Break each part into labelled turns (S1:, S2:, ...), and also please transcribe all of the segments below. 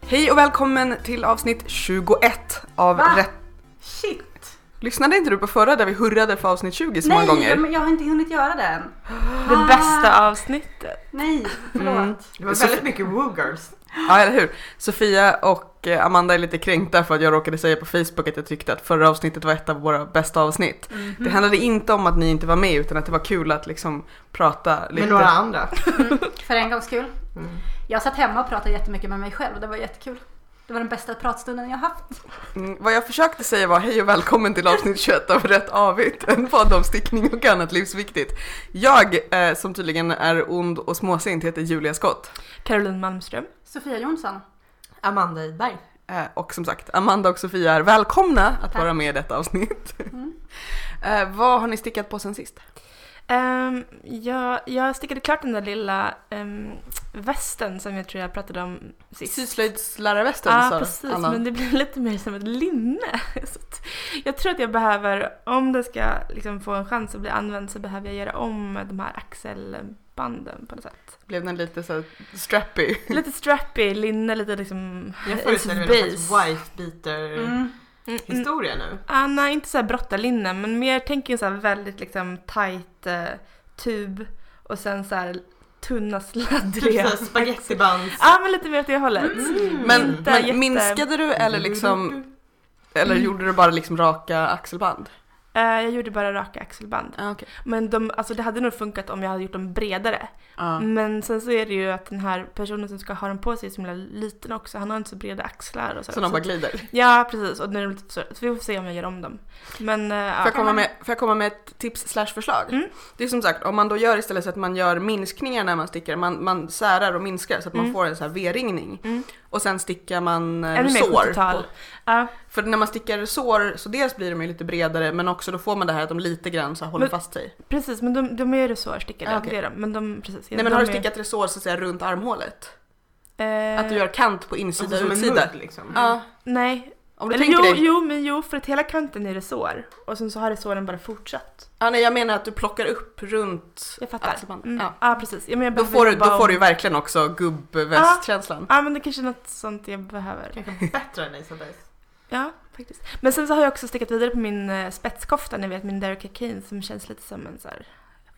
S1: Hej och välkommen till avsnitt 21 av
S2: Va?
S1: Rätt...
S2: Shit!
S1: Lyssnade inte du på förra där vi hurrade för avsnitt 20 så många gånger?
S2: men jag har inte hunnit göra det än. Ah.
S3: Det bästa avsnittet. Mm.
S2: Nej, förlåt.
S4: Det var
S1: Så-
S4: väldigt mycket woo girls.
S1: Ja, eller hur? Sofia och eh, Amanda är lite kränkta för att jag råkade säga på Facebook att jag tyckte att förra avsnittet var ett av våra bästa avsnitt.
S2: Mhm.
S1: Det handlade inte om att ni inte var med utan att det var kul att liksom prata lite.
S4: Med några andra.
S2: För en gångs skull.
S1: Mm.
S2: Jag satt hemma och pratade jättemycket med mig själv och det var jättekul. Det var den bästa pratstunden jag haft.
S1: Mm, Vad jag försökte säga var hej och välkommen till avsnitt 21 av Rätt Avigt, en podd om stickning och annat livsviktigt. Jag, eh, som tydligen är ond och småsint, heter Julia Skott.
S3: Caroline Malmström.
S2: Sofia Jonsson.
S4: Amanda Idberg.
S1: Eh, och som sagt, Amanda och Sofia är välkomna att
S2: Tack.
S1: vara med i detta avsnitt.
S3: Mm.
S1: Eh, vad har ni stickat på sen sist?
S3: Ehm, jag, jag stickade klart den där lilla ehm, västen som jag tror jag pratade om sist.
S1: Syslöjdslärarvästen
S3: Ja,
S1: sa
S3: precis.
S1: Anna.
S3: Men det blir lite mer som ett linne. Så att jag tror att jag behöver, om det ska liksom få en chans att bli använd så behöver jag göra om de här axelbanden på något sätt.
S1: Blev den lite så här strappy?
S3: Lite strappy, linne, lite liksom...
S4: Jag föreställer mig någon slags wife beater
S3: Mm, mm.
S4: historia nu.
S3: Ah, nej, inte så här brottarlinne, men mer tänker jag så här väldigt liksom tight eh, tub och sen så här tunna
S4: Typ
S3: sladdriga.
S4: såhär spagettibands...
S3: Ja, men lite mer åt det hållet.
S1: Men,
S3: Inte
S1: men
S3: jätte-
S1: minskade du eller liksom,
S4: Mm.
S1: eller gjorde du bara liksom raka axelband?
S3: Eh, jag gjorde bara raka axelband.
S1: Ah, okay.
S3: Men de, alltså, det hade nog funkat om jag hade gjort dem bredare.
S1: Ah.
S3: Men sen så är det ju att den här personen som ska ha dem på sig är så himla liten också. Han har inte så breda axlar och så.
S1: Så de bara glider.
S3: Ja, precis. Och när de, så, så vi får se om jag gör om dem. Men eh,
S1: Får
S3: ja.
S1: jag, komma med, får jag komma med ett tips slash förslag?
S3: Mm.
S1: Det är som sagt, om man då gör istället så att man gör minskningar när man stickar, man, man särar och minskar så att man
S3: Mm.
S1: får en så här V-ringning.
S3: Mm.
S1: Och sen stickar man eh,
S3: Ännu mer
S1: sår.
S3: 70-tal. Ja.
S1: För när man stickar sår så dels blir de ju lite bredare men också då får man det här att de lite grann så här håller
S3: Men-
S1: fast sig.
S3: Precis, men de, de är ju resårstickade.
S1: Ja, Ah, okej.
S3: Det är de. Men de, precis.
S1: Nej men
S3: de
S1: har du
S3: är-
S1: stickat resår så att säga runt armhålet?
S3: Eh,
S1: Att du gör kant på insida
S4: Alltså
S1: och
S4: som en
S1: utsida?
S4: mudd liksom.
S1: Ja.
S3: Nej.
S1: Om du
S3: Eller
S1: tänker
S3: jo,
S1: dig.
S3: jo, men jo, för att hela kanten är resår. Och sen så har resåren bara fortsatt.
S1: Ja, nej, jag menar att du plockar upp runt
S3: Jag fattar.
S1: axelbandet.
S3: Mm.
S1: Ja.
S3: Ja. precis. Ja, men jag
S1: Då,
S3: behöver
S1: får du,
S3: jobba
S1: då får du ju
S3: om-
S1: verkligen också gubbvästkänslan.
S3: Ja, men det kanske är något sånt jag behöver.
S4: Kanske bättre än Isabelle.
S3: Ja, faktiskt. Men sen så har jag också stickat vidare på min eh, spetskofta, ni vet min Derek Kane som känns lite som en så här,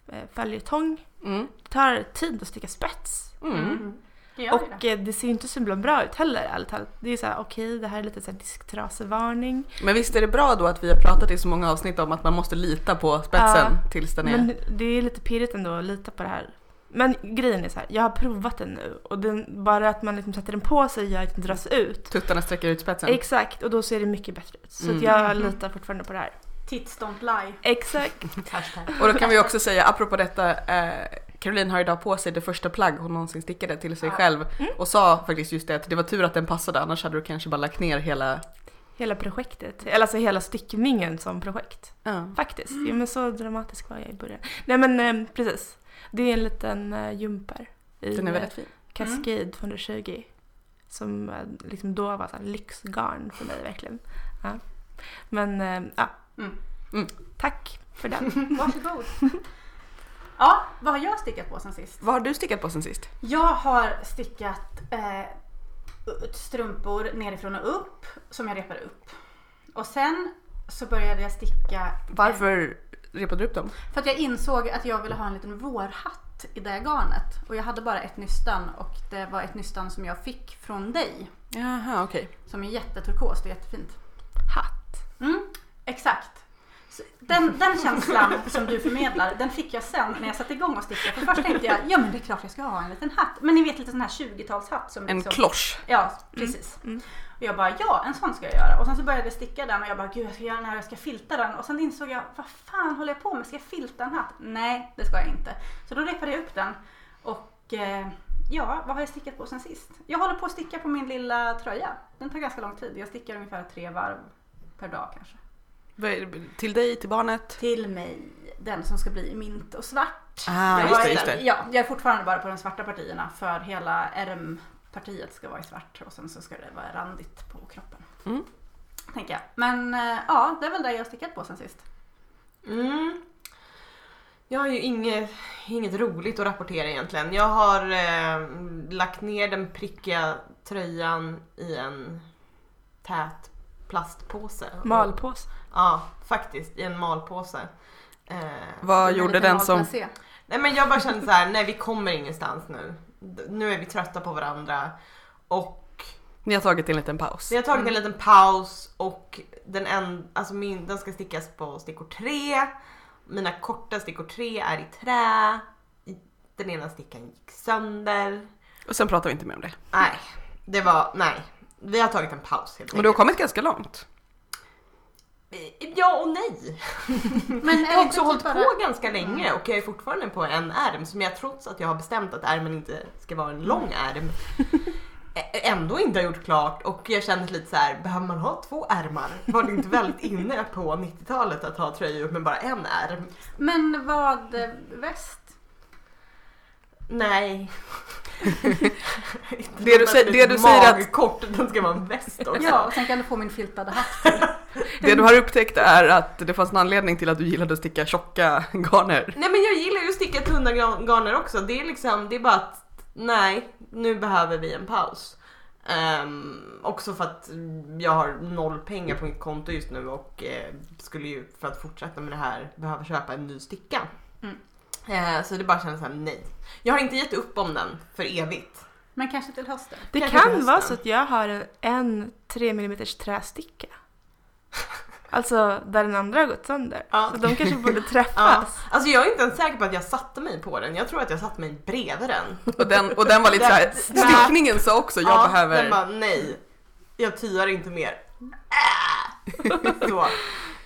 S3: eh, följetong.
S1: Mm.
S3: Det tar tid att sticka spets.
S1: Mm.
S2: Det gör
S3: och eh, det ser ju inte så himla bra ut heller, ärligt talat. Det är ju såhär, okej, det här är lite såhär disktrasevarning.
S1: Men visst är det bra då att vi har pratat i så många avsnitt om att man måste lita på spetsen tills den är...
S3: Men det är lite pirrigt ändå att lita på det här. Men grejen är så här, jag har provat den nu och den, bara att man liksom sätter den på sig gör att den dras ut.
S1: Tuttarna sträcker ut spetsen.
S3: Exakt, och då ser det mycket bättre ut. Så
S1: Mm.
S3: att jag litar fortfarande på det här.
S2: Tits don't lie.
S3: Exakt.
S4: Hashtag.
S1: Och då kan vi också säga, apropå detta, eh, Caroline har idag på sig det första plagg hon någonsin stickade till sig
S2: Ja.
S1: själv och sa faktiskt just det att det var tur att den passade annars hade du kanske bara lagt ner hela...
S3: Hela projektet, eller alltså hela stickningen som projekt.
S1: Ja.
S3: Faktiskt. Jo men så dramatisk var jag i början. Nej men eh, precis. Det är en liten eh, jumper i
S1: Den är
S3: eh,
S1: väldigt fin.
S3: Cascade 220. Som eh, liksom då var så här lyxgarn för mig verkligen. Ja. Men eh, ja.
S2: Mm.
S1: Mm.
S3: Tack för den.
S2: Varsågod. ja, vad har jag stickat på sen sist?
S1: Vad har du stickat på sen sist?
S2: Jag har stickat eh, strumpor nerifrån och upp som jag repade upp. Och sen så började jag sticka
S1: Varför repade du upp dem?
S2: För att jag insåg att jag ville ha en liten vårhatt i det garnet. Och jag hade bara ett nystan och det var ett nystan som jag fick från dig.
S1: Jaha, okej.
S2: Som är jätteturkost och jättefint.
S3: Hatt.
S2: Mm, exakt. Så Den, den känslan som du förmedlar, den fick jag sen när jag satte igång och sticka. För först tänkte jag, ja men det är klart jag ska ha en liten hatt. Men ni vet lite sån här 20-talshatt som
S1: En
S2: liksom-
S1: klosch.
S2: Ja, precis. Och jag bara, ja en sån ska jag göra. Och sen så började jag sticka den och jag bara, gud jag ska göra den här, jag ska filta den. Och sen insåg jag, vad fan håller jag på med? Ska jag filta en hatt? Nej, det ska jag inte. Så då repade jag upp den. Och eh, ja, vad har jag stickat på sen sist? Jag håller på att sticka på min lilla tröja. Den tar ganska lång tid. Jag stickar ungefär tre varv per dag kanske.
S1: Vad är det- Till dig, till barnet?
S2: Till mig, den som ska bli mint och svart.
S1: Ah,
S2: jag,
S1: just
S2: har-
S1: det, just det.
S2: Ja, jag är fortfarande bara på de svarta partierna för hela RM-partiet ska vara i svart och sen så ska det vara randigt på kroppen.
S1: Mm.
S2: Tänker jag. Men eh, ja, det är väl det jag har stickat på sen sist.
S4: Mm. Jag har ju inget, inget roligt att rapportera egentligen. Jag har eh, lagt ner den prickiga tröjan i en tät plastpåse.
S3: Malpåse.
S4: Ja, faktiskt i en malpåse. Eh,
S1: Vad
S2: Den är
S1: gjorde
S2: lite
S1: den som...
S2: malplacé.
S4: Nej men jag bara kände så här, nej vi kommer ingenstans nu. D- Nu är vi trötta på varandra. Och
S1: Ni har tagit en liten paus.
S4: vi har tagit en liten paus och den, en, alltså min, den ska stickas på stickor tre. Mina korta stickor tre är i trä. Den ena stickan gick sönder.
S1: Och sen pratar vi inte mer om det.
S4: Nej, det var, nej. Vi har tagit en paus helt
S1: Men du har kommit ganska långt.
S4: Ja och nej.
S2: Men eh,
S4: Jag har också hållit på ganska
S1: Mm.
S4: länge och jag är fortfarande på en ärm som jag trots att jag har bestämt att ärmen inte ska vara
S1: Mm.
S4: en lång ärm ä- ändå inte har gjort klart och jag känner lite så här: behöver man ha två ärmar? Var det inte väldigt inne på 90-talet att ha tröjor med bara en ärm?
S2: Men vad eh, väst?
S4: Nej.
S1: Det du säger- det du säger att-
S4: Magkort, den ska vara en väst också.
S2: Ja, och sen kan du få min filtade hatt.
S1: Det du har upptäckt är att det fanns en anledning till att du gillade att sticka tjocka garner.
S4: Nej men jag gillar ju att sticka tunna gra- garner också. Det är liksom, det är bara att nej, nu behöver vi en paus. Ehm, också för att jag har noll pengar på mitt konto just nu och eh, skulle ju för att fortsätta med det här behöva köpa en ny sticka.
S2: Mm.
S4: Eh, så det bara känns såhär, nej. Jag har inte gett upp om den för evigt.
S2: Men kanske till hösten.
S3: Det
S4: Kanske till
S3: kan vara
S4: hösten.
S3: så att jag har en, en 3 mm trästicka. Alltså där den andra har gått sönder.
S4: Ja.
S3: Så de kanske borde
S4: Ja.
S3: träffas.
S4: Alltså jag är inte ens säker på att jag satte mig på den. Jag tror att jag satte mig bredvid den.
S1: Och den, och den var lite såhär, stickningen sa också jag
S4: ja,
S1: behöver...
S4: Den bara, nej, jag tyar inte mer. Äh! så.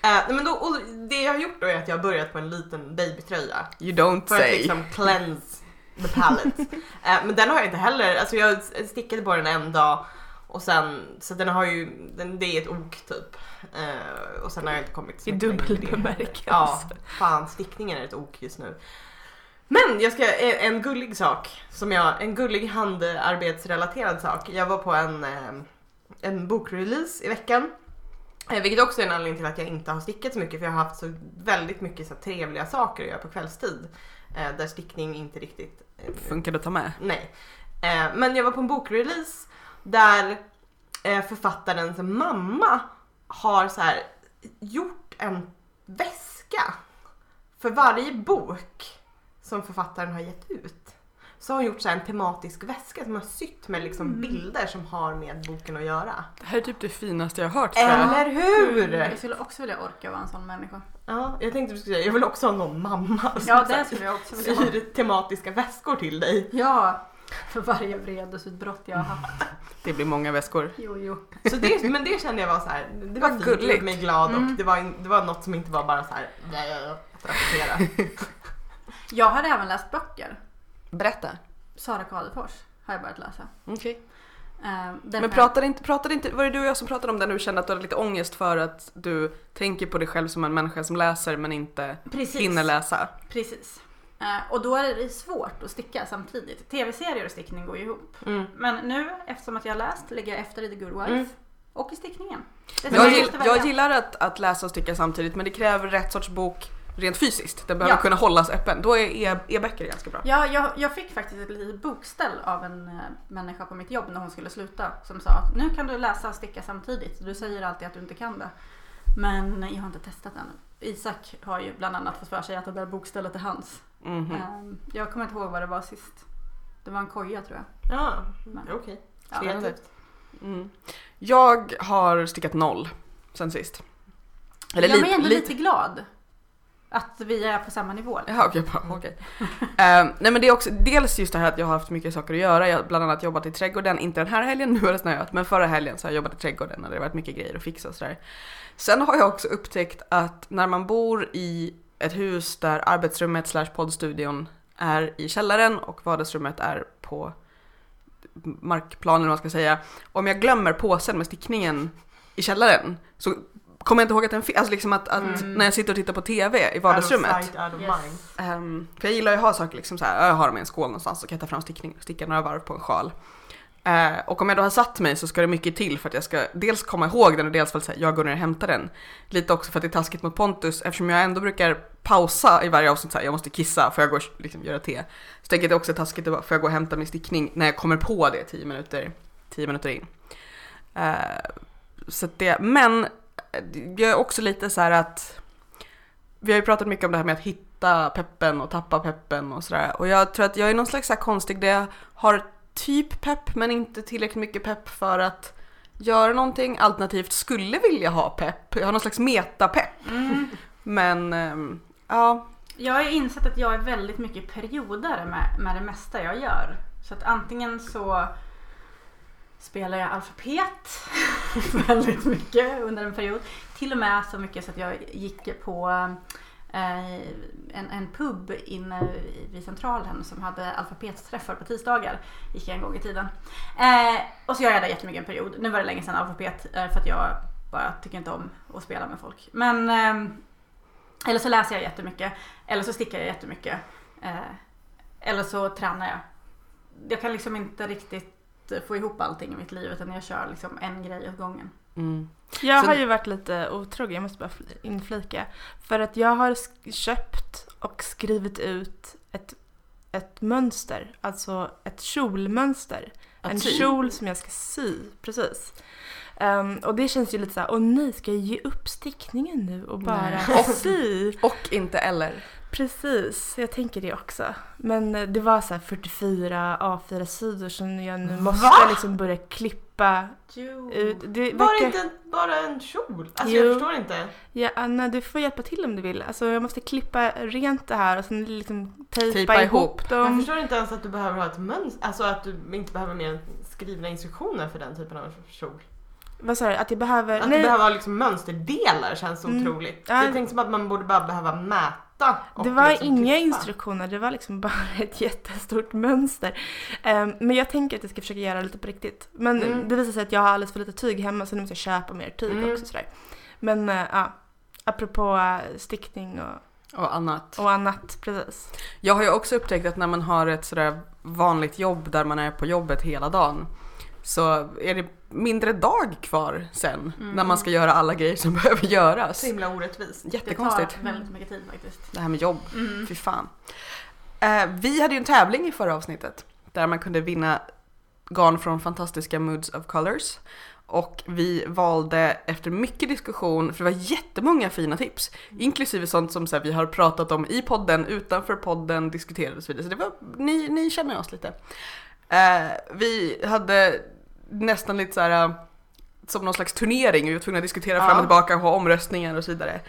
S4: Eh, nej, men då, och det jag har gjort då är att jag har börjat på en liten babytröja.
S1: You don't
S4: För att
S1: say.
S4: liksom cleanse the palette. Eh, men den har jag inte heller, alltså jag stickade på den en dag och sen, så den har ju, den, det är ett ok typ. Eh, och sen har jag inte kommit så
S3: I
S4: mycket längre med
S3: dubbel
S4: det heller.
S3: bemärkelse.
S4: Ja, fan stickningen är ett ok just nu. Men jag ska, en- en gullig sak, som jag, en gullig handarbetsrelaterad sak. Jag var på en, eh, en bokrelease i veckan. Eh, Vilket också är en anledning till att jag inte har stickat så mycket för jag har haft så väldigt mycket så här trevliga saker att göra på kvällstid. Eh, där stickning inte riktigt... eh,
S1: Funkar det att ta med?
S4: nej. Eh, men jag var på en bokrelease där eh, författarens mamma har så här gjort en väska för varje bok som författaren har gett ut. Så har hon gjort så här en tematisk väska som har sytt med liksom
S2: Mm.
S4: bilder som har med boken att göra.
S1: Det här är typ det finaste jag har hört tror jag.
S4: Eller hur!
S2: Mm, Jag skulle också vilja orka vara en sån människa.
S4: Ja, jag tänkte du skulle säga, jag vill också ha någon mamma som
S2: Ja,
S4: så här
S2: det skulle jag också vilja vara.
S4: syr tematiska väskor till dig.
S2: Ja, för varje vredesutbrott jag har haft.
S1: Det blir många väskor.
S2: Jo, jo.
S4: Så det, men det kände jag var så här, det var
S1: Vad
S4: fint, det
S1: gulligt.
S4: gjorde mig glad och
S2: Mm.
S4: det, var, in- det var något som inte var bara så här, nej, jag- jag- att rapportera.
S2: Jag har även läst böcker.
S1: Berätta.
S2: Sara Kadefors har jag börjat läsa.
S1: Okej.
S2: Eh, den
S1: Men
S2: här-
S1: pratade inte, pratade inte, var det du och jag som pratade om det när du kände att du hade lite ångest för att du tänker på dig själv som en människa som läser men inte
S2: Precis.
S1: hinner läsa?
S2: Precis. Eh, Och då är det svårt att sticka samtidigt. Tv-serier och stickning går ju ihop.
S4: Mm.
S2: Men nu, eftersom att jag har läst, ligger jag efter i The Good Wife.
S4: Mm.
S2: Och i stickningen. Det är så
S1: Jag,
S2: jag
S1: gill,
S2: måste välja.
S1: jag gillar att, att läsa och sticka samtidigt men det kräver rätt sorts bok rent fysiskt. Den behöver
S2: Ja.
S1: kunna hållas öppen. Då är e- e-böcker ganska bra.
S2: Ja, jag, jag fick faktiskt ett litet bokställ av en eh, människa på mitt jobb när hon skulle sluta som sa att nu kan du läsa och sticka samtidigt. Du säger alltid att du inte kan det. Men jag har inte testat ännu. Isak har ju bland annat fått för sig att det där bokstället är hans.
S1: Mhm.
S2: Eh, Jag kommer inte ihåg vad det var sist. Det var en koja tror jag.
S4: Ja,
S2: Men-
S4: okej.
S2: Ja,
S4: Kreativt.
S1: Mm. Jag har stickat noll sen sist. Eller
S2: jag
S1: lite.
S2: är ändå
S1: lite-
S2: lite glad att vi är på samma nivå.
S1: Jaha okej, bra, okej. Ehm, nej men det är också dels just det här att jag har haft mycket saker att göra. Jag har bland annat jobbat i trädgården, inte den här helgen, nu har det snöat, men förra helgen så har jag jobbat i trädgården och det har varit mycket grejer att fixa och sådär. Sen har jag också upptäckt att när man bor i ett hus där arbetsrummet slash poddstudion är i källaren och vardagsrummet är på markplanen eller vad man ska säga. Om jag glömmer påsen med stickningen i källaren så kommer jag inte ihåg att den finns. Alltså liksom att, att
S2: Mm.
S1: när jag sitter och tittar på TV i vardagsrummet.
S4: Out of sight, out of
S2: Yes.
S4: mind.
S1: Ehm, för jag gillar ju att ha saker liksom så här, jag har dem i en skål någonstans så kan jag ta fram stickning, sticka några varv på en sjal. Eh, och om jag då har satt mig så ska det mycket till för att jag ska dels komma ihåg den och dels för att säga, jag går ner och hämtar den. Lite också för att det är taskigt mot Pontus eftersom jag ändå brukar pausa i varje avsnitt så här, jag måste kissa, får jag gå och liksom, göra te? Så tänker jag att det är också taskigt att bara, får jag gå och hämta min stickning när jag kommer på det tio minuter, tio minuter in. Eh, så att det, men jag är också lite så här att vi har ju pratat mycket om det här med att hitta peppen och tappa peppen och sådär. Och jag tror att jag är någon slags så här konstig där jag har typ pepp men inte tillräckligt mycket pepp för att göra någonting. Alternativt skulle vilja ha pepp. Jag har någon slags metapepp.
S2: Mm.
S1: Men ehm, ja,
S2: Jag har ju insett att jag är väldigt mycket periodare med, med det mesta jag gör. Så att antingen så spelar jag alfabet väldigt mycket under en period. Till och med så mycket så att jag gick på eh, en, en pub inne i- vid Centralen som hade alfabetsträffar på tisdagar. Gick jag en gång i tiden. Eh, och så gör jag det jättemycket en period. Nu var det länge sedan alfabet eh, för att jag bara tycker inte om att spela med folk. Men ehm, eller så läser jag jättemycket. Eller så stickar jag jättemycket. Eh, eller så tränar jag. Jag kan liksom inte riktigt få ihop allting i mitt liv utan jag kör liksom en grej åt gången.
S1: mm,
S3: Jag
S1: Så-
S3: har ju varit lite otrogen, jag måste bara fl- inflika. För att jag har sk- köpt och skrivit ut ett, ett mönster, alltså ett kjolmönster.
S1: Att
S3: en
S1: sy.
S3: kjol som jag ska sy, precis. Ehm, och det känns ju lite så här, åh nej, ska jag ge upp stickningen nu och bara
S1: Nej.
S3: sy?
S1: och inte eller.
S3: Precis, jag tänker det också. Men eh, det var så här 44 A4-sidor som jag nu måste liksom börja klippa
S1: Eh,
S3: ut. Det
S4: Var
S3: verkar-
S4: det inte en- bara en kjol? Alltså
S3: Jo.
S4: jag förstår inte.
S3: Ja, Anna, du får hjälpa till om du vill. Alltså, jag måste klippa rent det här och sen liksom tejpa,
S1: Tejpa
S3: ihop,
S1: ihop.
S4: Jag
S3: dem.
S4: förstår inte ens att du behöver ha ett mönster, alltså att du inte behöver mer än skrivna instruktioner för den typen av kjol.
S3: Vad sa du? Att jag behöver...
S4: Att
S3: Eh, nej,
S4: du behöver ha liksom mönsterdelar känns
S3: Mm.
S4: otroligt.
S3: Ja.
S4: Det känns som att man borde bara behöva mäta. och
S3: det var
S4: liksom
S3: inga
S4: klippa.
S3: instruktioner, det var liksom bara ett jättestort mönster. Ehm, men jag tänker att jag ska försöka göra lite på riktigt. Men
S4: Mm.
S3: det visar sig att jag har alldeles för lite tyg hemma så nu måste jag köpa mer tyg
S4: Mm.
S3: också. Sådär. Men eh, ja, apropå eh, stickning och,
S1: Och annat.
S3: och annat, precis.
S1: Jag har ju också upptäckt att när man har ett sådär vanligt jobb där man är på jobbet hela dagen så är det mindre dag kvar sen när man ska göra alla grejer som behöver göras.
S4: Så himla orättvist.
S2: Det tar Mm.
S1: Jättekonstigt. Mm.
S2: väldigt mycket tid faktiskt.
S1: Det här med jobb, fy fan. Eh, vi hade ju en tävling i förra avsnittet där man kunde vinna garn från fantastiska Moods of Colors. Och vi valde efter mycket diskussion, för det var jättemånga fina tips, inklusive sånt som så här, vi har pratat om i podden, utanför podden, diskuterade och så vidare. Så det var, ni, ni känner oss lite. Eh, vi hade nästan lite så här eh, som någon slags turnering, vi var tvungna att diskutera fram
S4: Ja.
S1: och tillbaka och ha omröstningar och så vidare.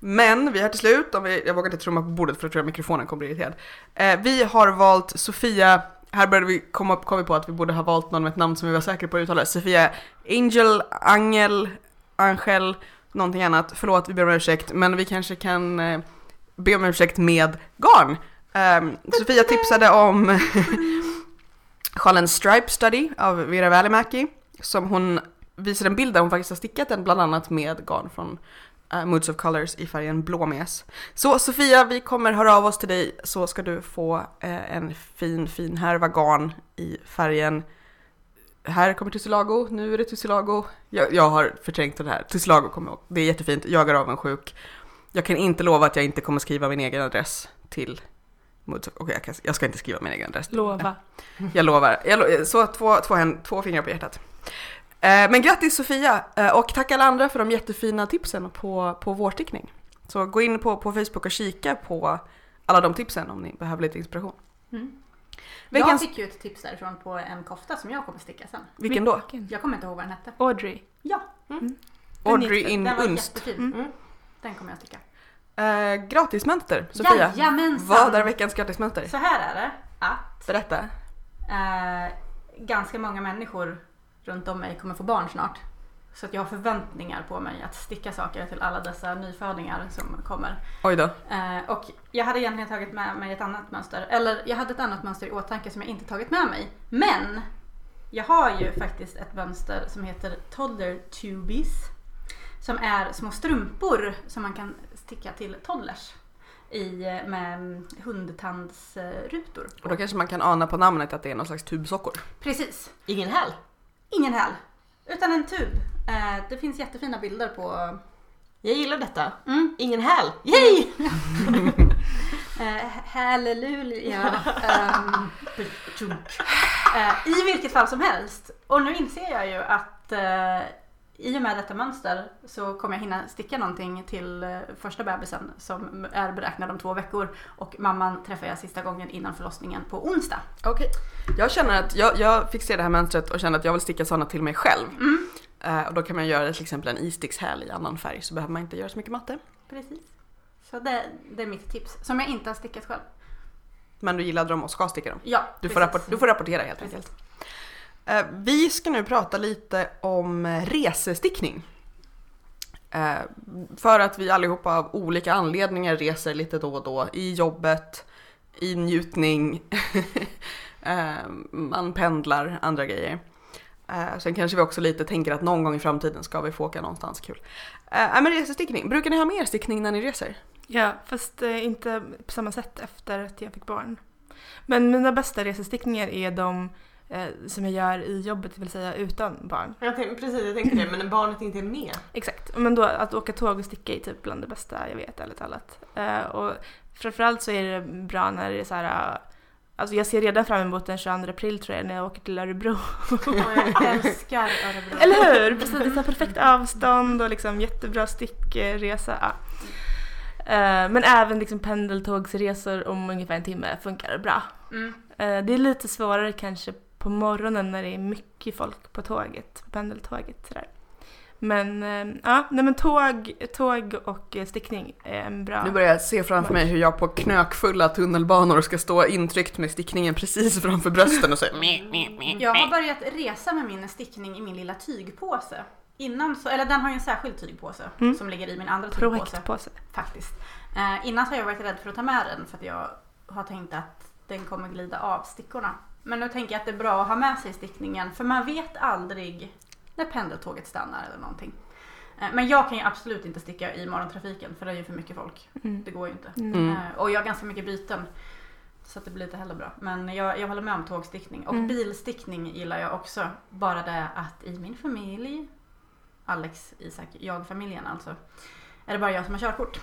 S1: Men vi har till slut, om vi, jag vågar inte trumma på bordet för jag tror att mikrofonen kommer bli irriterad. Eh, vi har valt Sofia, här började vi komma kom vi på att vi borde ha valt någon med ett namn som vi var säkra på att uttala. Sofia Angel, Angel, Angel, någonting annat. Förlåt, vi ber om ursäkt, men vi kanske kan eh, be om ursäkt med garn. Ehm, Sofia tipsade om sjalen Stripe Study av Vera Välimäki som hon visade en bild där hon faktiskt har stickat den bland annat med garn från eh, Moods of Colors i färgen blåmes. Så Sofia, vi kommer höra av oss till dig så ska du få eh, en fin, fin härva garn i färgen här kommer Tussilago, nu är det Tussilago. Jag, jag har förträngt den här. Tussilago kommer jag ihåg. Det är jättefint, jag är avundsjuk. Jag kan inte lova att jag inte kommer skriva min egen adress till Moods of... Okej, jag, kan- jag ska inte skriva min egen adress.
S3: Lova.
S1: Jag lovar. Jag lo eh, så två, två, hän- två fingrar på hjärtat. Eh, men grattis Sofia eh, och tack alla andra för de jättefina tipsen på, på vårstickning. Så gå in på, på Facebook och kika på alla de tipsen om ni behöver lite inspiration.
S2: Jag
S1: Veckans,
S2: Mm. fick ju ett tips därifrån på en kofta som jag kommer sticka sen.
S1: vilken då?
S2: Jag kommer inte ihåg vad den hette.
S3: Audrey.
S2: Ja,
S1: Audrey
S3: Den
S1: in
S2: den var
S1: Unst.
S2: jättefin.
S3: Mm.
S4: Mm.
S2: Den kommer jag sticka.
S1: Eh, gratismönster, Sofia.
S2: Jajamensan!
S1: Vad är veckans gratismönster?
S2: Så här är det att
S1: Berätta.
S2: eh, ganska många människor runt om mig kommer få barn snart. Så att jag har förväntningar på mig att sticka saker till alla dessa nyfödingar som kommer.
S1: Oj då.
S2: Eh, och jag hade egentligen tagit med mig ett annat mönster. Eller jag hade ett annat mönster i åtanke som jag inte tagit med mig. Men! Jag har ju faktiskt ett mönster som heter Toddler Tubies. Som är små strumpor som man kan sticka till toddlers. i, med mm, hundtandsrutor.
S1: Och då kanske man kan ana på namnet att det är någon slags tubsockor.
S2: Precis,
S4: Ingen häl.
S2: ingen häl. Utan en tub. Eh, Det finns jättefina bilder på...
S4: Jag gillar detta.
S2: Mm.
S4: Ingen häl.
S3: Mm.
S4: Yay!
S2: Eh, halleluja. Ehm, eh, I vilket fall som helst. Och nu inser jag ju att eh, i och med detta mönster så kommer jag hinna sticka någonting till eh, första bebisen som är beräknad om två veckor. Och mamman träffar jag sista gången innan förlossningen på onsdag.
S1: Okej. Jag känner att jag, jag fick se det här mönstret och känner att jag vill sticka sådana till mig själv. Eh, och då kan man göra till exempel en istickshäl i annan färg så behöver man inte göra så mycket matte.
S2: Precis. Så det, det är mitt tips som jag inte har stickat själv.
S1: Men du gillade dem och ska sticka dem.
S2: Ja,
S1: Du, får, rapport, du får rapportera helt
S2: Precis.
S1: enkelt. Eh, vi ska nu prata lite om eh, resestickning. Eh, för att vi allihopa av olika anledningar reser lite då och då. I jobbet, i njutning, eh, man pendlar, andra grejer. Eh, sen kanske vi också lite tänker att någon gång i framtiden ska vi få åka någonstans kul. Eh, nej, men resestickning, brukar ni ha med er stickning när ni reser?
S3: Ja, fast eh, inte på samma sätt efter att jag fick barn. Men mina bästa resestickningar är de eh, som jag gör i jobbet, det vill säga utan barn.
S4: Jag tänkte, precis, jag tänkte det. Men när barnet inte är med.
S3: Exakt, men då att åka tåg och sticka är typ bland det bästa jag vet ärligt talat. Eh, och framförallt så är det bra när det är så här, eh, alltså jag ser redan fram emot den 22 april tror jag när jag åker till Örebro.
S2: Och jag älskar Örebro.
S3: Eller hur? Precis, det är så här perfekt avstånd och liksom jättebra stickresa. Ja. Eh, Men även liksom pendeltågsresor om ungefär en timme funkar bra.
S2: Mm.
S3: Eh, Det är lite svårare kanske på morgonen när det är mycket folk på tåget, på pendeltåget sådär. Men eh, ja, nej men tåg, tåg och eh, stickning är en bra...
S1: Nu börjar jag se framför mig hur jag på knökfulla tunnelbanor ska stå intryckt med stickningen precis framför brösten och säga meh, meh, meh.
S2: Jag har börjat resa med min stickning i min lilla tygpåse. Innan så, eller den har ju en särskild tygpåse
S3: Mm.
S2: som ligger i min andra tygpåse.
S3: Projektpåse.
S2: Faktiskt. Eh, innan så har jag varit rädd för att ta med den för att jag har tänkt att den kommer glida av stickorna. Men nu tänker jag att det är bra att ha med sig stickningen för man vet aldrig när pendeltåget stannar eller någonting. Eh, Men jag kan ju absolut inte sticka i morgontrafiken för det är ju för mycket folk.
S3: Mm.
S2: Det går ju inte.
S3: Mm.
S1: Mm.
S2: Eh, Och jag har ganska mycket byten. Så att det blir inte heller bra. Men jag, jag håller med om tågstickning. Och
S3: Mm.
S2: bilstickning gillar jag också. Bara det att i min familj, Alex, Isak, jag-familjen alltså, är det bara jag som har körkort.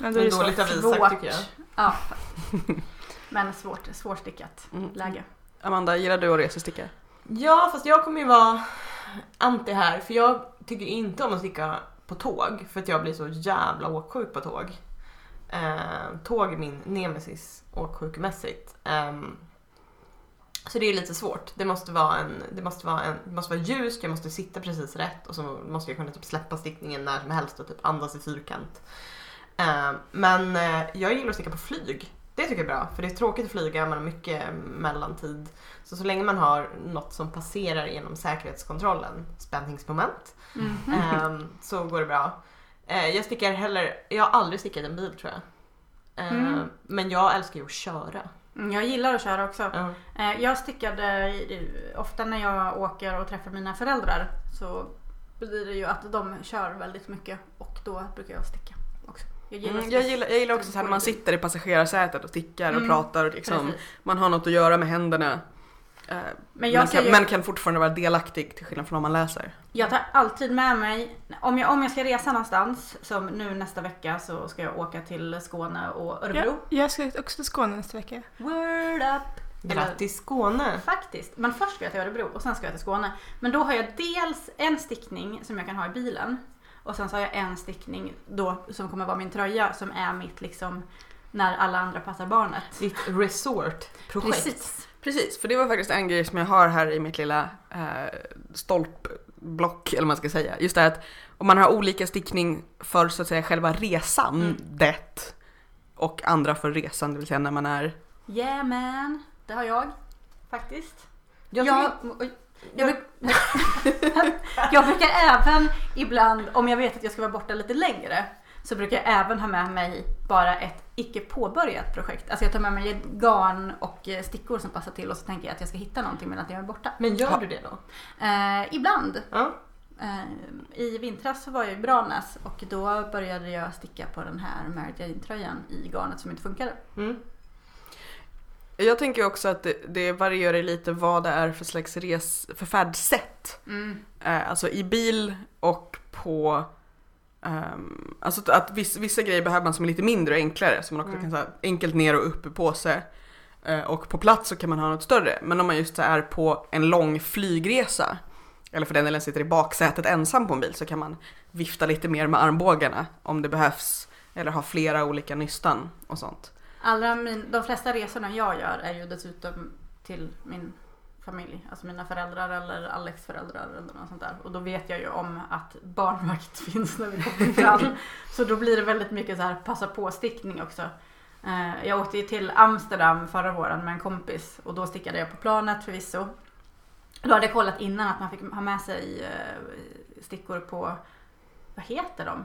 S3: Ja, då
S4: Det
S3: är
S4: är
S3: det så.
S4: dåligt av Isak tycker jag.
S2: Ja, faktiskt. Men svårt, svårstickat
S1: Mm.
S2: läge.
S1: Amanda, gillar du att resesticka?
S4: Ja, fast jag kommer ju vara anti här för jag tycker inte om att sticka på tåg för att jag blir så jävla åksjuk på tåg. Eh, tåg är min nemesis åksjukemässigt. Ehm, så det är lite svårt. Det måste, vara en, det, måste vara en, det måste vara ljust, jag måste sitta precis rätt och så måste jag kunna typ släppa stickningen när som helst och typ andas i fyrkant. Ehm, men eh, jag gillar att sticka på flyg. Det tycker jag är bra för det är tråkigt att flyga, man har mycket mellantid så så länge man har något som passerar genom säkerhetskontrollen, spänningsmoment,
S3: Mm.
S2: Mm.
S4: ehm, så går det bra. Eh, jag stickar heller, jag har aldrig stickat en bil tror jag. Ehm,
S2: Mm.
S4: Men jag älskar ju att köra.
S2: Mm, Jag gillar att köra också.
S4: Ja.
S2: Eh, Jag stickade i- ofta när jag åker och träffar mina föräldrar så blir det ju att de kör väldigt mycket och då brukar jag sticka också. Jag gillar,
S1: Mm, jag, gillar, jag gillar också så här när man sitter i passagerarsätet och stickar och
S2: Mm,
S1: pratar och liksom,
S2: Precis.
S1: man har något att göra med händerna. Eh,
S2: Men jag,
S1: men, kan,
S2: kan ju,
S1: men kan fortfarande vara delaktig till skillnad från om man läser.
S2: jag tar alltid med mig, om jag, om jag ska resa någonstans, som nu nästa vecka så ska jag åka till Skåne och Örebro.
S3: Ja, jag ska också till Skåne nästa vecka.
S2: Word up!
S4: Grattis Skåne!
S2: Faktiskt. Men först ska jag till Örebro och sen ska jag till Skåne. Men då har jag dels en stickning som jag kan ha i bilen. Och sen så har jag en stickning då som kommer vara min tröja som är mitt liksom när alla andra passar barnet.
S4: Ditt resortprojekt.
S2: Precis.
S1: Precis, för det var faktiskt en grej som jag har här i mitt lilla eh, stolpblock, eller vad man ska säga. Just det här att om man har olika stickning för så att säga själva resan, det, och andra för resan, det vill säga när man är
S2: Yeah man. Det har jag. Faktiskt.
S4: Jag
S2: jag,
S4: tycker-
S2: oj, jag, bruk- jag brukar även ibland, om jag vet att jag ska vara borta lite längre, så brukar jag även ha med mig bara ett icke påbörjat projekt. Alltså jag tar med mig ett garn och eh, stickor som passar till och så tänker jag att jag ska hitta någonting medan jag är borta.
S4: Men gör du det då?
S2: Eh, ibland.
S4: Ja.
S2: Eh, I vintras så var jag i Branäs och då började jag sticka på den här Mary Jane-tröjan i garnet som inte funkade.
S4: Mm.
S1: Jag tänker också att det, det varierar lite vad det är för slags res, för färdsätt. Eh, alltså i bil och på ehm, Alltså att- att vissa, vissa grejer behöver man som är lite mindre och enklare så man också
S4: Mm.
S1: kan så här, enkelt ner och upp i påse. Eh, och på plats så kan man ha något större. Men om man just så här, är på en lång flygresa eller för den delen sitter i baksätet ensam på en bil så kan man vifta lite mer med armbågarna om det behövs. Eller ha flera olika nystan och sånt.
S2: Alla min, de flesta resorna jag gör är ju dessutom till min familj, alltså mina föräldrar eller Alex föräldrar eller något sånt där. Och då vet jag ju om att barnvakt finns när vi kommer fram. så då blir det väldigt mycket så här passa på stickning också. Eh, Jag åkte ju till Amsterdam förra våren med en kompis och då stickade jag på planet förvisso. Då hade jag kollat innan att man fick ha med sig eh, stickor på, vad heter de?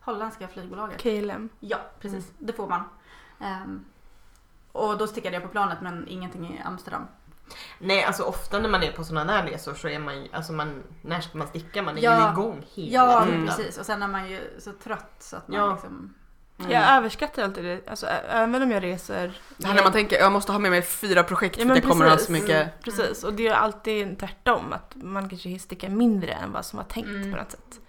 S2: Holländska flygbolaget.
S3: KLM.
S2: Ja, precis. Det får man. Ehm, och då stickade jag på planet men ingenting i Amsterdam.
S4: Nej, alltså ofta när man är på sådana där resor så är man ju, alltså man, när ska man sticka? Man är
S2: Ja.
S4: ju igång hela
S2: Ja,
S4: tiden.
S2: precis. Och sen är man ju så trött så att man
S4: Ja.
S2: liksom...
S1: Mm.
S3: Jag överskattar alltid det. Alltså, ä- även om jag reser.
S1: Det här när man tänker jag måste ha med mig fyra projekt
S3: Ja,
S1: för
S3: men
S1: jag kommer ha
S3: precis. Mm.
S1: så mycket.
S3: Precis, och det är ju alltid tvärtom. Att man kanske stickar mindre än vad som var tänkt
S2: Mm.
S3: på något sätt.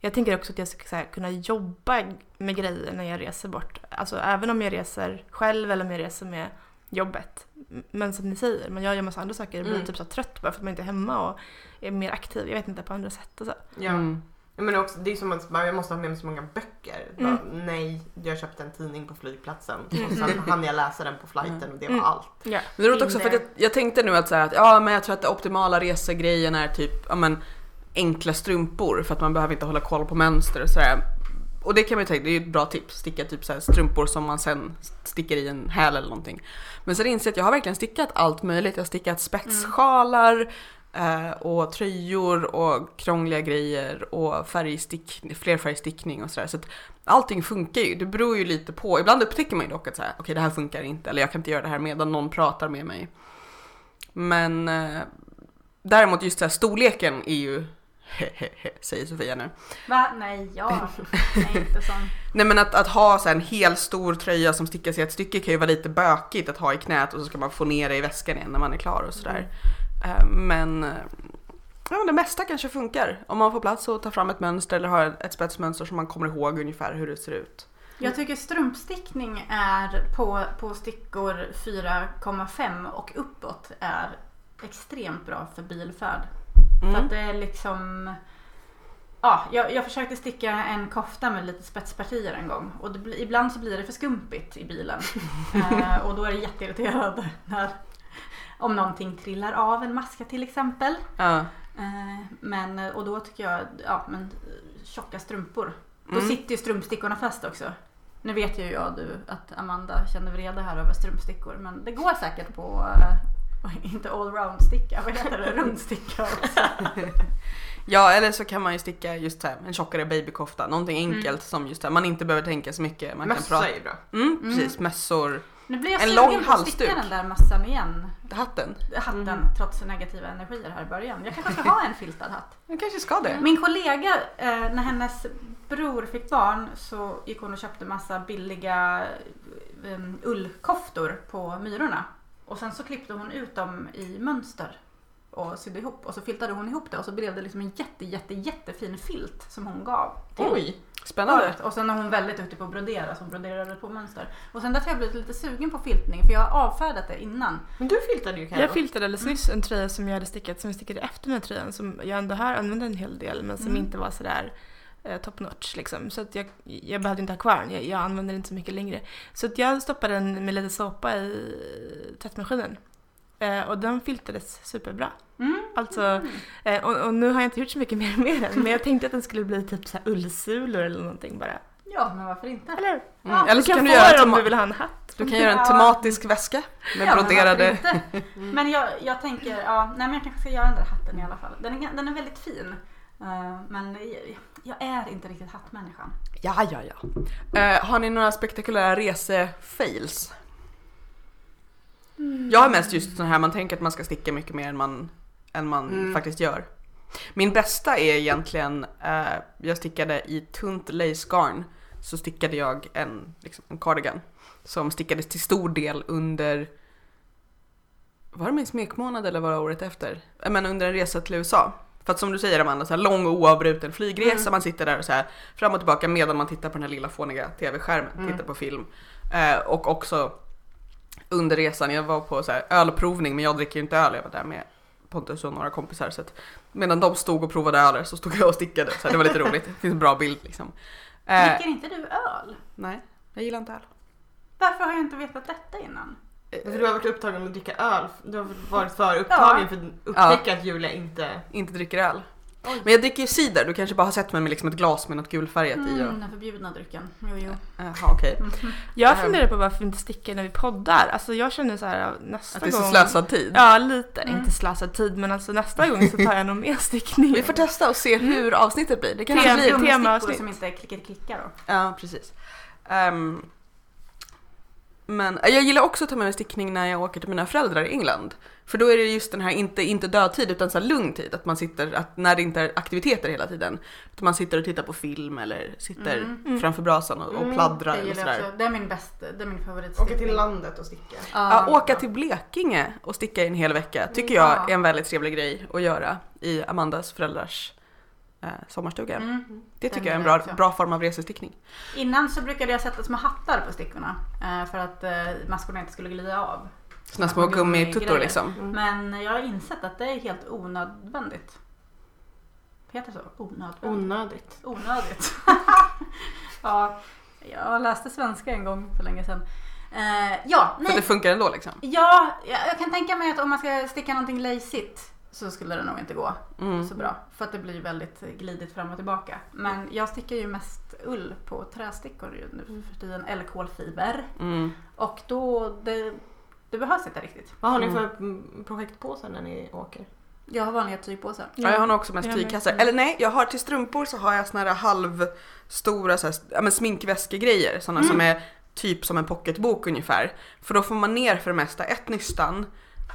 S3: Jag tänker också att jag ska så här, kunna jobba med grejer när jag reser bort. Alltså även om jag reser själv eller om jag reser med jobbet. M- Men som ni säger, man gör ju massa andra saker. Jag blir
S4: Mm.
S3: typ så här trött bara för att man inte är hemma och är mer aktiv. Jag vet inte, på andra sätt och så.
S4: Ja.
S1: Mm.
S4: Ja, Men också, det är som att bara, jag måste ha med mig så många böcker.
S3: Mm.
S4: Bara, nej, jag köpte en tidning på flygplatsen och sen hann jag läsa den på flighten och det var
S3: Mm.
S4: allt.
S3: Ja.
S1: Men det är roligt också för att jag, jag tänkte nu att, så här, att ja, men jag tror att den optimala resegrejen är typ ja, men, enkla strumpor för att man behöver inte hålla koll på mönster och sådär. Och det kan man ju tänka, det är ju ett bra tips. Sticka typ så här strumpor som man sen sticker i en häl eller någonting. Men sen inser jag att jag har verkligen stickat allt möjligt. Jag har stickat spetssjalar eh, och tröjor och krångliga grejer och färgstick, flerfärgstickning och sådär. Så att allting funkar ju. Det beror ju lite på. Ibland upptäcker man ju dock att så här, okej det här funkar inte eller jag kan inte göra det här medan någon pratar med mig. Men eh, däremot just så här, storleken är ju säger Sofia nu.
S2: Va? Nej, ja. Nej, inte sån.
S1: Nej men att, att ha så här, en hel stor tröja som stickas i ett stycke kan ju vara lite bökigt att ha i knät och så ska man få ner det i väskan igen när man är klar och sådär. Eh, Men eh, ja, men det mesta kanske funkar om man får plats och tar fram ett mönster eller har ett spetsmönster som man kommer ihåg ungefär hur det ser ut.
S2: Jag tycker strumpstickning är på, på stickor 4,5 och uppåt är extremt bra för bilfärd.
S1: Mm.
S2: För att det är liksom... Ja, jag, jag försökte sticka en kofta med lite spetspartier en gång och det, blir- ibland så blir det för skumpigt i bilen. eh, och då är det jätteirriterande när, om någonting trillar av en maska till exempel.
S1: Ja.
S2: Eh, men, och då tycker jag, ja men eh, tjocka strumpor. Då
S1: Mm.
S2: sitter ju strumpstickorna fast också. Nu vet ju jag du att Amanda känner vrede här över strumpstickor men det går säkert på eh, inte allround-sticka, vad heter det? Rundsticka också.
S1: Ja, eller så kan man ju sticka just så här, en tjockare babykofta. Någonting enkelt
S2: Mm.
S1: som just det här, man inte behöver tänka så mycket. Man kan
S4: Mössa
S1: prata.
S4: är ju bra.
S1: Mm, precis, mössor.
S2: Nu blir jag
S1: En
S2: sugen
S1: lång
S2: på att sticka
S1: halsduk. Mm.
S2: den där massan igen.
S1: Hatten.
S2: Hatten trots negativa energier här i början. Jag kanske ska ha en filtad hatt. Mm.
S1: Man kanske ska det.
S2: Min kollega, eh, när hennes bror fick barn så gick hon och köpte massa billiga eh, um, ullkoftor på Myrorna. Och sen så klippte hon ut dem i mönster och sydde ihop och så filtade hon ihop det och så blev det liksom en jätte jätte jättefin filt som hon gav till
S4: Oj!
S1: Spännande.
S2: och sen är hon väldigt duktig på att brodera så hon broderade på mönster. Och sen därför har jag blivit lite sugen på filtning för jag har avfärdat det innan.
S4: Men du filtade ju Carro.
S3: Jag filtrade alldeles nyss
S1: Mm.
S3: en tröja som jag hade stickat som jag stickade efter den här tröjan som jag ändå har använt en hel del men som
S2: Mm.
S3: inte var sådär eh, top notch liksom. Så att jag, jag behövde inte ha kvar den, jag, jag använder den inte så mycket längre. Så att jag stoppade den med lite såpa i tvättmaskinen. Eh, och den filtrades superbra.
S2: Mm.
S3: Alltså, eh, och, och nu har jag inte gjort så mycket mer med den men jag tänkte att den skulle bli typ så här ullsulor eller någonting bara.
S2: Ja, men varför inte?
S3: Eller?
S1: Mm. Eller
S3: Du
S1: så kan
S3: kan
S1: du
S3: få
S1: göra
S3: den om
S1: tema-
S3: du vill ha en hatt.
S1: Du kan göra en
S2: Ja.
S1: tematisk väska med
S2: Ja, men
S1: broderade...
S2: varför inte? Men jag, jag tänker, ja, nej men jag kanske ska göra den där hatten i alla fall. Den är, gan- den är väldigt fin. Eh, men jag, jag är inte riktigt hattmänniskan.
S1: Ja, ja, ja. Eh, har ni några spektakulära resefails?
S2: Mm.
S1: Jag har mest just sån här, man tänker att man ska sticka mycket mer än man, än man
S4: Mm.
S1: faktiskt gör. Min bästa är egentligen, eh, jag stickade i tunt lacegarn så stickade jag en, liksom, en cardigan som stickades till stor del under var det min smekmånad eller var det året efter? Eh, Men under en resa till USA. För att som du säger Amanda, så här lång och oavbruten flygresa,
S4: Mm.
S1: man sitter där och så här fram och tillbaka medan man tittar på den här lilla fåniga tv-skärmen,
S4: Mm.
S1: tittar på film. Eh, och också under resan, jag var på så här ölprovning men jag dricker ju inte öl, jag var där med Pontus och några kompisar. Så att, medan de stod och provade öler så stod jag och stickade. Så här, det var lite roligt, det finns en bra bild liksom. Eh,
S2: Dricker inte du öl?
S1: nej, jag gillar inte öl.
S2: Varför har jag inte vetat detta innan?
S4: För du har varit upptagen med att dricka öl. Du har varit för upptagen för att upptäcka att Julia inte...
S1: inte dricker öl. Men jag dricker ju cider, du kanske bara har sett mig med liksom ett glas med något gulfärgat i. Och,
S2: Mm, den förbjudna drycken. Jo, jo.
S1: aha, okej.
S3: Jag
S1: Ehm.
S3: funderar på varför vi inte sticker när vi poddar. Alltså jag känner så här nästa
S1: Att det är
S3: gång.
S1: så slösad tid.
S3: Ja lite,
S2: Mm.
S3: inte slösad tid men alltså nästa gång så tar jag nog med stickning.
S1: Vi får testa och se hur avsnittet blir. Det kanske
S3: Tre-
S1: blir...
S3: tre-
S2: Gummistickor
S3: temaavsnitt.
S2: som inte klickar klickar då.
S1: Ja, precis. Ehm, men eh, jag gillar också att ta med mig stickning när jag åker till mina föräldrar i England. För då är det just den här, inte, inte dödtid utan så här lugn tid. Att man sitter, att när det inte är aktiviteter hela tiden. Att man sitter och tittar på film eller sitter
S2: Mm.
S3: Mm.
S1: framför brasan och, och
S4: Mm,
S1: pladdrar
S2: Det
S1: eller
S2: gillar jag
S1: sådär.
S2: också. Det är min bästa, det är min favorit.
S4: Åka till landet och sticka.
S1: Ja, åka till Blekinge och sticka i en hel vecka tycker
S2: Ja.
S1: jag är en väldigt trevlig grej att göra i Amandas föräldrars eh, sommarstuga.
S2: Mm.
S1: Det tycker jag är en
S2: den
S1: bra,
S2: gillar jag också.
S1: bra form av resestickning.
S2: Innan så brukade jag sätta små hattar på stickorna eh, för att eh, maskorna inte skulle glida av.
S1: Såna små gummituttor liksom.
S2: Men jag har insett att det är helt onödvändigt. Heter det så? Onödvändigt?
S4: Onödigt.
S2: Onödigt. ja, jag läste svenska en gång för länge sedan. Eh, ja,
S1: För att
S2: nej.
S1: det funkar ändå liksom.
S2: Ja, jag jag kan tänka mig att om man ska sticka någonting lejsigt så skulle det nog inte gå
S1: Mm.
S2: så bra. För att det blir väldigt glidigt fram och tillbaka. Men jag stickar ju mest ull på trästickor ju nu för tiden. Eller kolfiber.
S1: Mm.
S2: Och då, det, det behövs inte riktigt.
S4: Vad har ni för mm, projektpåsar när ni åker?
S2: Jag har vanliga tygpåsar.
S1: Ja, jag har nog också mest
S3: Jag med.
S1: tygkassar. Eller nej, jag har till strumpor så har jag såna här halvstora så här, ja, men sminkväskegrejer. Såna som
S2: Mm.
S1: är typ som en pocketbok ungefär. För då får man ner för det mesta ett nystan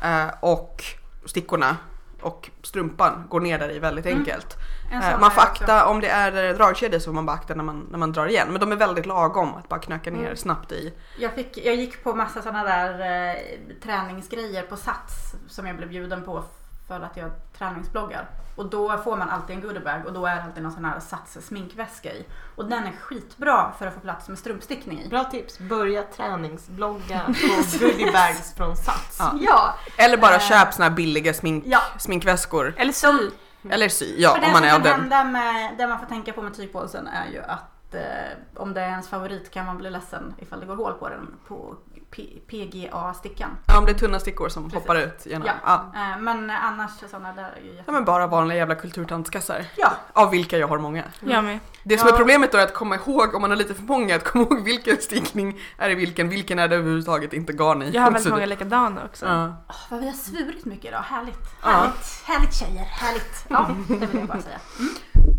S1: eh, och stickorna och strumpan går ner där i väldigt
S2: Mm.
S1: enkelt.
S2: En
S1: Eh,
S2: sån
S1: man får
S2: har jag också.
S1: akta, om det är dragkedjor så får man bara akta när man, när man drar igen. Men de är väldigt lagom att bara knöka ner
S4: Mm.
S1: snabbt i.
S2: Jag, fick, jag gick på massa sådana där eh, träningsgrejer på Sats som jag blev bjuden på för att jag träningsbloggar. Och då får man alltid en goodiebag och då är det alltid någon sån här Sats sminkväska i. Och den är skitbra för att få plats med strumpstickning i.
S4: Bra tips! Börja träningsblogga på goodiebags från Sats.
S1: Ja.
S2: Ja,
S1: Eller bara
S2: Eh.
S1: köp såna här billiga smink,
S2: ja. Mm.
S1: sminkväskor.
S3: Eller sol.
S1: Eller sy, ja
S2: för det
S1: om man
S2: som
S1: är av
S2: kan
S1: den.
S2: hända med, det man får tänka på med tygpåsen är ju att eh, om det är ens favorit kan man bli ledsen ifall det går hål på den på P- PGA-stickan.
S1: Ja, om det är tunna stickor som
S2: Precis.
S1: hoppar ut genom.
S2: Ja.
S1: Ja.
S2: Eh, men annars sådana där är ju jättebra.
S1: Ja men bara vanliga jävla kulturtantskassar.
S2: Ja.
S1: Av vilka jag har många.
S3: Jag med.
S1: Det som
S2: Ja.
S1: är problemet då är att komma ihåg, om man har lite för många, att komma ihåg vilken stickning är i vilken, vilken är det överhuvudtaget inte garn i.
S3: Jag har
S1: Så
S3: väldigt
S1: det-
S3: många likadana också.
S1: Ja.
S2: Åh, vad vi har svurit mycket idag. Härligt.
S1: Ja.
S2: Härligt. Härligt tjejer. Härligt. Ja, det vill jag bara säga.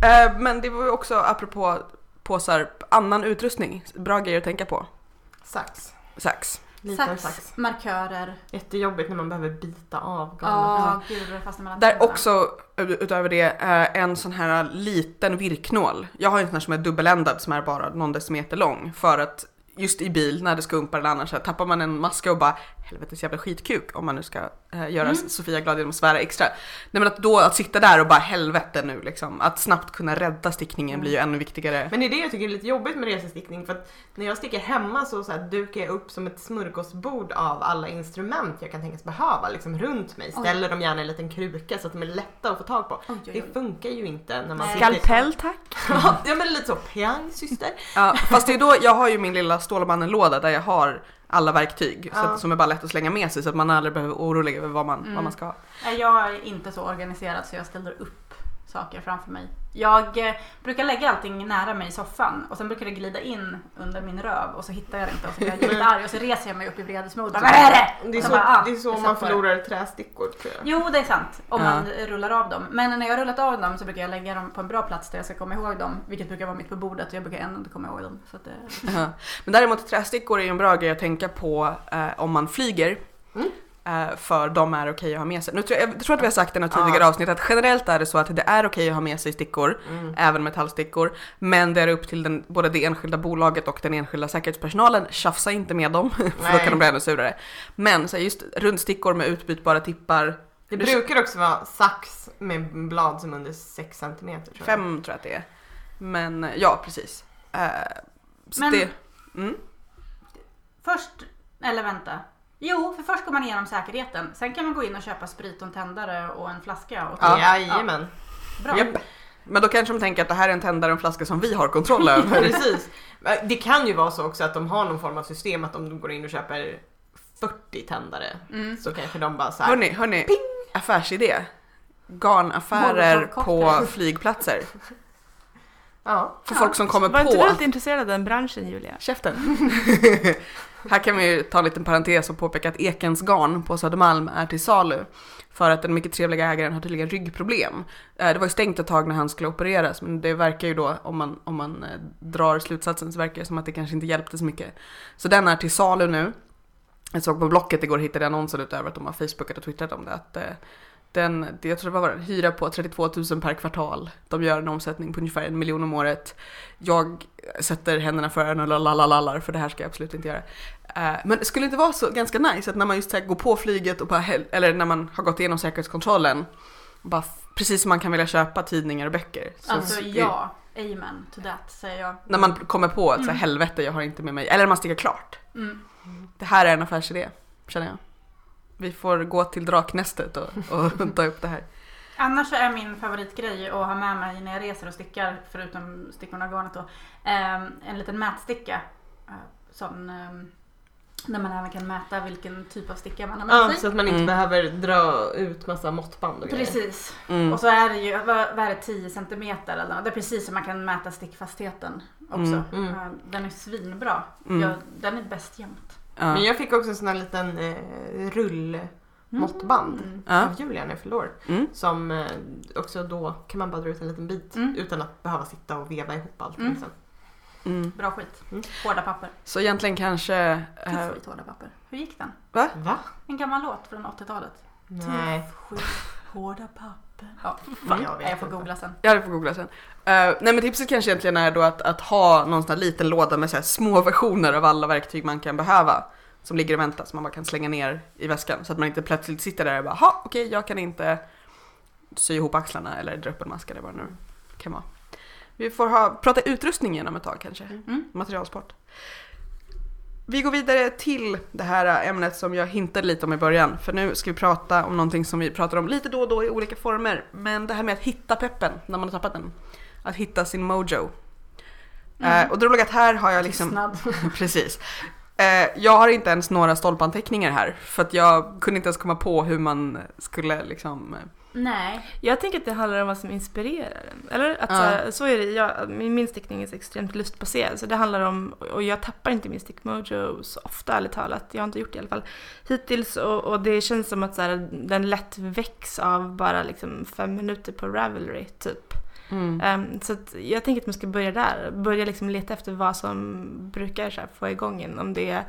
S1: Eh, Men det var ju också apropå påsar, annan utrustning, bra grejer att tänka på.
S4: Sax.
S1: Sax.
S4: Liten
S2: Sax,
S4: sax.
S2: markörer.
S4: Jättejobbigt när man behöver bita av garnet.
S2: Ja, gud det fastnar mellan
S1: Där
S2: tänderna.
S1: också, utöver det, eh, en sån här liten virknål. Jag har ju en sån här som är dubbeländad som är bara någon decimeter lång. För att just i bil när det skumpar eller annars, så här, tappar man en maska och bara helvetes jävla skitkuk om man nu ska eh, göra
S2: Mm.
S1: Sofia glad genom att svära extra. Nej men att då att sitta där och bara helvete nu liksom. Att snabbt kunna rädda stickningen blir ju ännu viktigare.
S4: Men det är det jag tycker är lite jobbigt med resestickning för att när jag sticker hemma så, så här, dukar jag upp som ett smörgåsbord av alla instrument jag kan tänkas behöva liksom runt mig. Ställer dem gärna i en liten kruka så att de är lätta att få tag på.
S2: Oj, oj,
S4: Det
S2: oj.
S4: funkar ju inte när man
S2: Nej.
S4: sitter...
S3: Skalpell tack.
S4: ja men lite så, pang syster.
S1: Ja, fast det är då, jag har ju min lilla Stålmannen-låda där jag har alla verktyg så
S4: Ja.
S1: att, som är bara lätt att slänga med sig så att man aldrig behöver vara orolig över vad man, vad man ska ha.
S2: Nej, Jag är inte så organiserad så jag ställer upp saker framför mig. Jag eh, brukar lägga allting nära mig i soffan och sen brukar det glida in under min röv och så hittar jag det inte och så blir jag jättearg och så reser jag mig upp i vredesmod. Vad är det?
S4: Det är
S2: Och
S4: så,
S2: bara, ah,
S4: det är så
S2: jag
S4: man
S2: satt på det.
S4: förlorar trästickor tror jag.
S2: Jo, det är sant. Om
S1: Ja.
S2: man rullar av dem. Men när jag har rullat av dem så brukar jag lägga dem på en bra plats där jag ska komma ihåg dem. Vilket brukar vara mitt på bordet och jag brukar ändå inte komma ihåg dem. Så att det...
S1: Ja. Men däremot trästickor är ju en bra grej att tänka på eh, om man eh, flyger. eh, för de är okej att ha med sig. Nu tror jag, jag tror att vi har sagt i något tidigare
S4: Ja.
S1: avsnitt att generellt är det så att det är okej att ha med sig stickor,
S4: Mm.
S2: Eh,
S1: även metallstickor, men det är upp till den, både det enskilda bolaget och den enskilda säkerhetspersonalen. Tjafsa inte med dem, för då
S4: Nej.
S1: kan de bli ännu surare. Men så här, just rundstickor med utbytbara tippar,
S4: Det brukar också vara sax med blad som är under 6 cm tror jag.
S1: fem tror jag att det är. Men ja, precis. Eh, så
S2: Men-
S1: det, mm.
S2: Först, eller vänta. Jo, för först går man igenom säkerheten. Sen kan man gå in och köpa sprit och en tändare och en flaska. Och
S4: Ja. Jajamän.
S2: Bra.
S1: Japp. Men då kanske de tänker att det här är en tändare och en flaska som vi har kontroll över.
S4: Precis. Det kan ju vara så också att de har någon form av system att om de går in och köper 40 tändare så kanske de bara såhär.
S1: Hörni, hörni. Affärsidé. Garnaffärer på
S2: Molotov-cocktail.
S1: flygplatser.
S4: Ja.
S1: För folk som kommer
S3: Var inte du
S1: på.
S3: lite intresserad av den branschen Julia?
S1: Käften. Här kan vi ju ta en liten parentes och påpeka att Ekens garn på Södermalm är till salu. För att den mycket trevliga ägaren har tydligen ryggproblem. Eh, Det var ju stängt ett tag när han skulle opereras men det verkar ju då, om man, om man eh, drar slutsatsen, så verkar det som att det kanske inte hjälpte så mycket. Så den är till salu nu. Jag såg på Blocket igår hittade jag annonser utöver att de har Facebookat och twittrat om det. Att, eh, den, det- jag tror det var den, hyra på 32 000 per kvartal. De gör en omsättning på ungefär en miljon om året. Jag sätter händerna för öronen och lalalallar för det här ska jag absolut inte göra. Eh, Men skulle det inte vara så ganska nice att när man just så här går på flyget och bara, hel- eller när man har gått igenom säkerhetskontrollen, bara, f- precis som man kan vilja köpa tidningar och böcker. Så-
S2: Alltså
S1: så-
S2: ja, Mm. amen to that säger jag.
S1: När man kommer på att så här, helvete jag har inte med mig, eller när man sticker klart.
S2: Mm.
S1: Det här är en affärsidé, känner jag. Vi får gå till draknästet och, och ta upp det här.
S2: Annars så är min favoritgrej att ha med mig när jag reser och stickar, förutom stickorna och garnet då, ehm, en liten mätsticka. Eh, Sån, ehm, där man även kan mäta vilken typ av sticka man har med
S4: ja
S2: sig.
S4: så att man inte
S1: Mm.
S4: behöver dra ut massa måttband och grejer.
S2: Precis.
S1: Mm.
S2: Och så är det ju, vad vad är det, 10 centimeter eller något. Det är precis som man kan mäta stickfastheten också.
S1: Mm,
S4: mm.
S2: Eh, Den är svinbra.
S1: Mm.
S2: Jag, den är bäst jämt.
S1: Ja.
S4: Men jag fick också en sån här liten eh, rullmåttband
S2: Mm.
S1: Ja.
S4: av Julia när jag förlorade.
S1: Mm.
S4: Som eh, också då kan man bara dra ut en liten bit
S2: Mm.
S4: utan att behöva sitta och veva ihop liksom. allting
S2: Mm.
S4: sen.
S1: Mm.
S2: Bra skit.
S4: Mm.
S2: Hårda papper.
S1: Så egentligen kanske... eh,
S2: Tuff skit, hårda papper. Hur gick den?
S4: Va?
S2: En gammal låt från 80-talet.
S4: Nej.
S2: Skit, hårda papper. Ja,
S4: Fan, jag
S2: jag,
S4: vet
S2: jag får
S4: inte.
S2: googla sen.
S1: Ja, det får googla sen. Eh, nej men tipset kanske egentligen är då att, att ha någon sån här liten låda med så här små versioner av alla verktyg man kan behöva. Som ligger och väntar som man bara kan slänga ner i väskan. Så att man inte plötsligt sitter där och bara, ha okej jag kan inte sy ihop axlarna eller dra upp en mask eller vad det nu kan vara. Vi får ha, prata utrustning igenom ett tag kanske.
S2: Mm.
S1: Materialsport. Vi går vidare till det här ämnet som jag hintade lite om i början. För nu ska vi prata om någonting som vi pratar om lite då och då i olika former. Men det här med att hitta peppen när man har tappat den. Att hitta sin mojo.
S2: Mm.
S1: Eh, och det roliga är att här har jag liksom...
S2: Tystnad.
S1: Precis. Eh, jag har inte ens några stolpanteckningar här för att jag kunde inte ens komma på hur man skulle liksom... eh,
S2: Nej.
S3: Jag tänker att det handlar om vad som inspirerar en. Eller? Att,
S1: Ja.
S3: så, här, så är det. Jag, min, min stickning är så extremt lustbaserad. Så det handlar om, och jag tappar inte min stickmojo så ofta ärligt talat. Jag har inte gjort det i alla fall hittills. Och, och det känns som att så här, den lätt väcks av bara liksom fem minuter på Ravelry typ.
S1: Eh,
S3: Ehm, så att jag tänker att man ska börja där. Börja liksom leta efter vad som brukar så här, få igång en. Om det är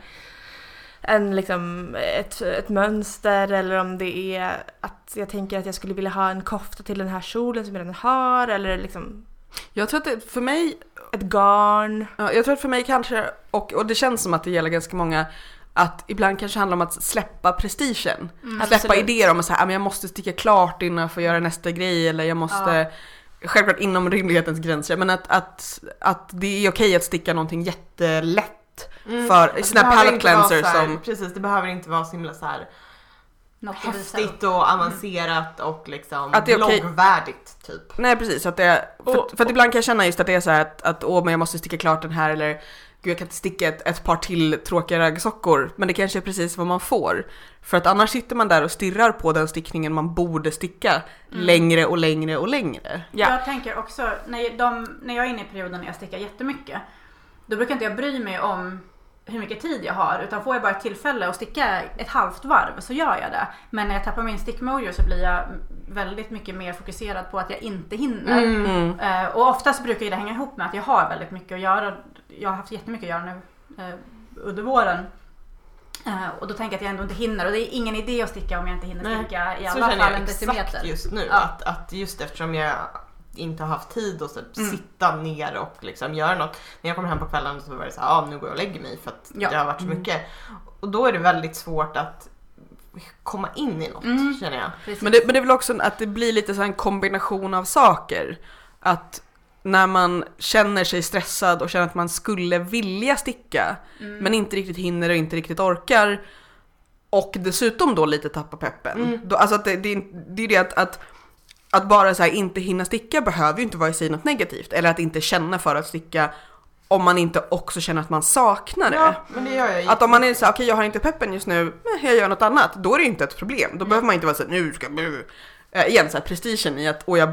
S3: en, liksom, ett, ett mönster eller om det är att jag tänker att jag skulle vilja ha en kofta till den här kjolen som jag redan har. Eller liksom
S1: Jag tror att det, för mig
S3: ett garn.
S1: Ja, jag tror att för mig kanske, och, och det känns som att det gäller ganska många, att ibland kanske handlar om att släppa prestigen.
S2: Mm.
S1: släppa
S3: Absolut.
S1: idéer om att så här, "Ah, men jag måste sticka klart innan jag får göra nästa grej eller jag måste, självklart inom rimlighetens gränser, men att, att, att det är okej att sticka någonting jättelätt.
S4: Mm.
S1: För
S4: Alltså,
S1: såna här
S4: det behöver
S1: palette
S4: inte vara
S1: cleanser
S4: så här-
S1: som...
S4: Precis, det behöver inte vara så himla så här
S2: Något att visa upp.
S4: häftigt och avancerat och liksom
S1: Att det är okej.
S4: bloggvärdigt typ.
S1: Nej precis, att det, för,
S3: Och-
S1: för att ibland kan jag känna just att det är så här att, att åh men jag måste sticka klart den här eller gud jag kan inte sticka ett, ett par till tråkiga raggsockor. Men det kanske är precis vad man får. För att annars sitter man där och stirrar på den stickningen man borde sticka
S3: Mm.
S1: längre och längre och längre.
S3: Ja.
S2: Jag tänker också, när, de, när jag är inne i perioden när jag stickar jättemycket, då brukar inte jag bry mig om hur mycket tid jag har utan får jag bara ett tillfälle att sticka ett halvt varv så gör jag det. Men när jag tappar min stickmojo så blir jag väldigt mycket mer fokuserad på att jag inte hinner.
S1: Mm.
S3: Mm.
S2: Eh, och oftast brukar ju det hänga ihop med att jag har väldigt mycket att göra. Jag har haft jättemycket att göra nu eh, under våren. Eh, Och då tänker jag att jag ändå inte hinner och det är ingen idé att sticka om jag inte hinner
S4: Nej.
S2: sticka i
S4: Så
S2: alla
S4: känner
S2: fall
S4: jag
S2: en decimeter.
S4: exakt just nu.
S2: Ja.
S4: Att, att just eftersom jag inte har haft tid att så här
S2: Mm.
S4: sitta ner och liksom göra något. När jag kommer hem på kvällen så var det så här, ah, nu går jag och lägger mig för att
S2: Ja.
S4: det har varit så mycket. Och då är det väldigt svårt att komma in i något
S2: Mm.
S4: känner jag.
S2: Precis.
S1: Men det, men det är väl också en- att det blir lite så här en kombination av saker. Att när man känner sig stressad och känner att man skulle vilja sticka
S2: Mm.
S1: men inte riktigt hinner och inte riktigt orkar och dessutom då lite tappar peppen.
S4: Mm.
S1: Då, alltså att det, det, är in- det är det att, att, att bara så här inte hinna sticka behöver ju inte vara i sig något negativt. Eller att inte känna för att sticka om man inte också känner att man saknar det.
S4: Ja, men det gör jag ju.
S1: Att om man är så här, okej jag har inte peppen just nu, men jag gör något annat. Då är det inte ett problem. Då behöver man inte vara så här, nu ska jag... bli-" Eh, igen, så här, prestigen i att, och jag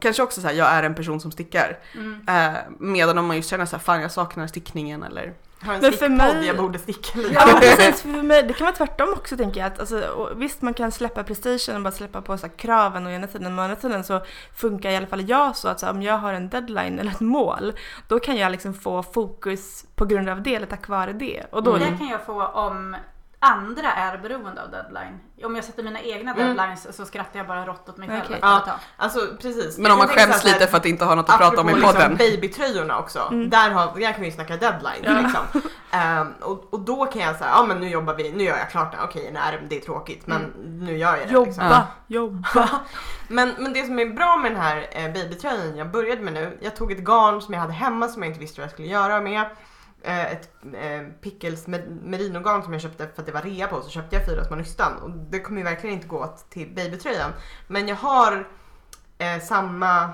S1: kanske också så här, jag är en person som stickar.
S2: Mm.
S1: Eh, medan om man just känner så här, fan jag saknar stickningen eller...
S4: har en
S3: Men för
S4: stickpodd,
S3: mig-
S4: jag borde sticka lite.
S3: Ja, precis. För mig, det kan vara tvärtom också tänker jag. Att, alltså, och, visst, man kan släppa prestigen och bara släppa på så här, kraven å ena sidan, men å andra sidan så funkar i alla fall jag så att så här, om jag har en deadline eller ett mål, då kan jag liksom få fokus på grund av det eller tack vare det. Och då,
S2: Det kan jag få om andra är beroende av deadline. Om jag sätter mina egna
S4: Mm.
S2: deadlines så skrattar jag bara rått åt mig själv.
S3: Okej.
S2: efter ett tag.
S4: Alltså precis.
S1: Men om man
S4: Jag tänker
S1: skäms
S4: så här-
S1: lite för att inte ha något att prata om i
S4: Apropå
S1: podden.
S4: Liksom babytröjorna också. Där, har, där kan vi ju snacka deadline. Liksom. Ehm, och, och då kan jag säga, ja men nu jobbar vi, nu gör jag klart det. Okej, en RM, det är tråkigt men nu gör jag det.
S3: jobba,
S4: Liksom.
S1: Ja.
S3: jobba.
S4: Men, men det som är bra med den här eh, babytröjan jag började med nu, jag tog ett garn som jag hade hemma som jag inte visste vad jag skulle göra med. Eh, ett eh, Pickles mer- merinogarn som jag köpte för att det var rea på så köpte jag fyra små nystan och det kommer ju verkligen inte gå åt till babytröjan. Men jag har eh, samma,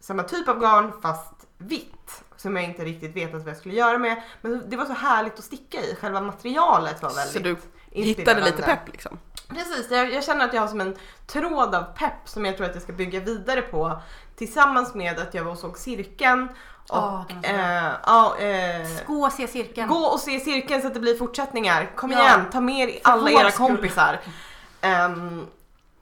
S4: samma typ av garn fast vitt som jag inte riktigt vetat vad jag skulle göra med. Men det var så härligt att sticka i, själva materialet var väldigt
S1: Så du hittade
S4: inspirerande. Mm,
S1: lite pepp liksom.
S4: Precis, jag, jag känner att jag har som en tråd av pepp som jag tror att jag ska bygga vidare på tillsammans med att jag var och såg cirkeln och
S2: Åh, den var så bra.
S4: eh, ja, eh,
S2: Gå och se cirkeln.
S4: gå och se cirkeln så att det blir fortsättningar. Kom
S2: Ja.
S4: igen, ta med er
S2: För
S4: alla
S2: vår
S4: era
S2: skull.
S4: kompisar. Ehm,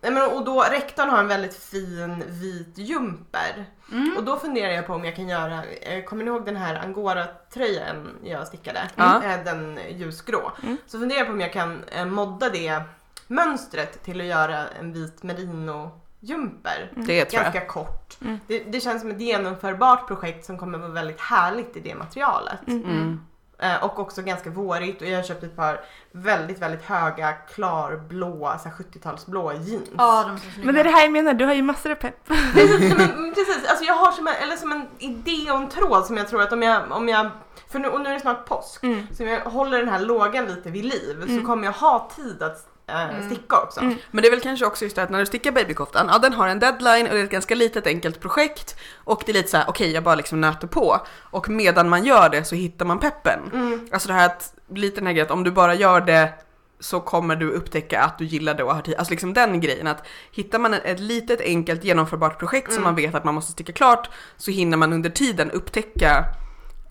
S4: nej men, och då, rektorn har en väldigt fin vit jumper
S2: Mm.
S4: och då funderar jag på om jag kan göra, eh, kommer ni ihåg den här angora-tröjan jag stickade?
S1: Ja.
S4: Eh, Den ljusgrå.
S3: Mm.
S4: Så funderar jag på om jag kan eh, modda det mönstret till att göra en vit merino-jumper.
S1: Mm. Det tror jag.
S4: Ganska kort.
S3: Mm.
S4: Det, det känns som ett genomförbart projekt som kommer vara väldigt härligt i det materialet.
S1: Mm.
S4: Eh, Och också ganska vårigt och jag har köpt ett par väldigt, väldigt höga klarblåa, så här 70-talsblå jeans.
S2: Ja, de är så snygga.
S3: Men det är det här jag menar, du har ju massor av pepp.
S4: Precis, nej, men, men precis. Alltså jag har som en, eller som en idé och en tråd som jag tror att om jag, om jag för nu, och nu är det snart påsk,
S3: Mm.
S4: så om jag håller den här lågan lite vid liv så kommer jag ha tid att eh, sticka också.
S1: Men det är väl kanske också just det att när du stickar babykoftan, ja den har en deadline och det är ett ganska litet enkelt projekt och det är lite så här: okej jag bara liksom nöter på och medan man gör det så hittar man peppen.
S4: Mm.
S1: Alltså det här att, lite den här grejen att om du bara gör det så kommer du upptäcka att du gillar det och har tid. Alltså liksom den grejen att hittar man ett litet enkelt genomförbart projekt
S3: Mm.
S1: som man vet att man måste sticka klart så hinner man under tiden upptäcka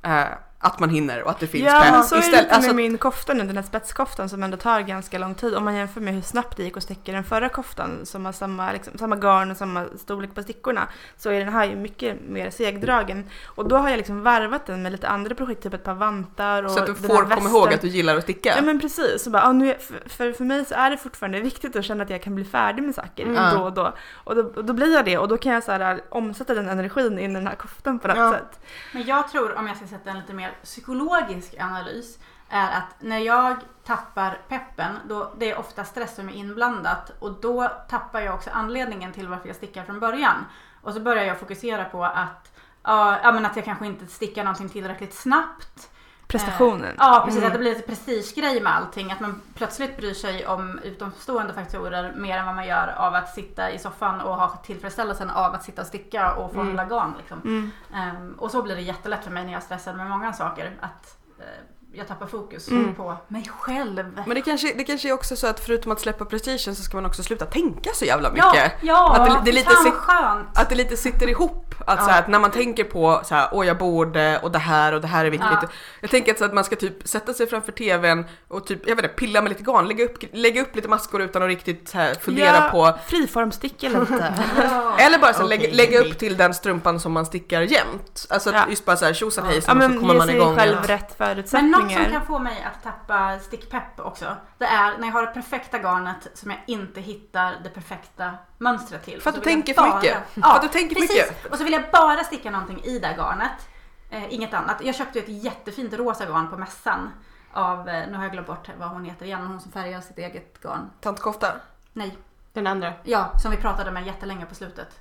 S1: eh, att man hinner och att det finns
S3: Ja, men
S1: pepp.
S3: så är det
S1: Istället-
S3: lite
S1: alltså,
S3: med min kofta nu, den här spetskoftan som ändå tar ganska lång tid. Om man jämför med hur snabbt det gick att sticka den förra koftan som har samma, liksom, samma garn och samma storlek på stickorna så är den här ju mycket mer segdragen. Och då har jag liksom varvat den med lite andra projekt, typ ett par vantar och
S1: så att du
S3: den här
S1: får komma
S3: västen.
S1: ihåg att du gillar att sticka.
S3: Ja men precis, så bara, ah, nu, är- för- för, för mig så är det fortfarande viktigt att känna att jag kan bli färdig med saker
S1: Mm.
S3: då och då. Och då, och då blir jag det och då kan jag så här, äh, omsätta den energin in i den här koftan på något
S4: Ja.
S3: sätt.
S2: Men jag tror, om jag ska sätta en lite mer psykologisk analys, är att när jag tappar peppen, då det är ofta stress som är inblandat och då tappar jag också anledningen till varför jag stickar från början. Och så börjar jag fokusera på att, ja, ja, men att jag kanske inte stickar någonting tillräckligt snabbt.
S3: Prestationen.
S2: Ja precis, att det blir lite prestigegrej med allting. Att man plötsligt bryr sig om utomstående faktorer mer än vad man gör av att sitta i soffan och ha tillfredsställelsen av att sitta och sticka och få hålla garn. Liksom.
S3: Mm.
S2: Ehm, och så blir det jättelätt för mig när jag är stressad med många saker. Att eh, jag tappar fokus på mig själv.
S1: Mm. Men det kanske, det kanske är också så att förutom att släppa prestigen så ska man också sluta tänka så jävla mycket.
S2: ja, ja
S1: att det, det, är lite,
S2: fan
S1: sit-
S2: vad skönt.
S1: att det lite sitter ihop ihop. Att,
S4: Ja.
S1: så här, att när man tänker på så här, åh jag borde och det här och det här är viktigt.
S2: Ja.
S1: Jag tänker att, så att man ska typ sätta sig framför tvn och typ, jag vet inte, pilla med lite garn, lägga upp, lägga upp lite maskor utan att riktigt så här, fundera
S3: Ja,
S1: på.
S3: Friformsticka lite.
S2: Ja.
S1: Eller bara så här, lägga,
S4: Okej.
S1: lägga upp till den strumpan som man stickar jämt. Alltså att
S3: Ja.
S1: just bara så här tjosan
S3: ja
S1: hejsan och så
S3: men
S1: kommer
S3: ge
S1: man
S3: sig
S1: igång.
S3: själv
S1: igen.
S3: rätt
S2: Men något som
S3: förutsättningar.
S2: kan få mig att tappa stickpepp också, det är när jag har det perfekta garnet som jag inte hittar det perfekta mönstret till.
S1: För att
S2: Så
S1: du
S2: vill jag
S1: tänker för
S2: bara-
S1: mycket.
S2: Ja,
S1: För att du tänker
S2: precis.
S1: mycket.
S2: Och så vill jag bara sticka någonting i det här garnet. Eh, inget annat. Jag köpte ju ett jättefint rosa garn på mässan av, eh, nu har jag glömt bort vad hon heter igen, men hon som färgar sitt eget garn.
S1: Tantkofta.
S2: Nej,
S4: Den andra.
S2: ja, som vi pratade med jättelänge på slutet.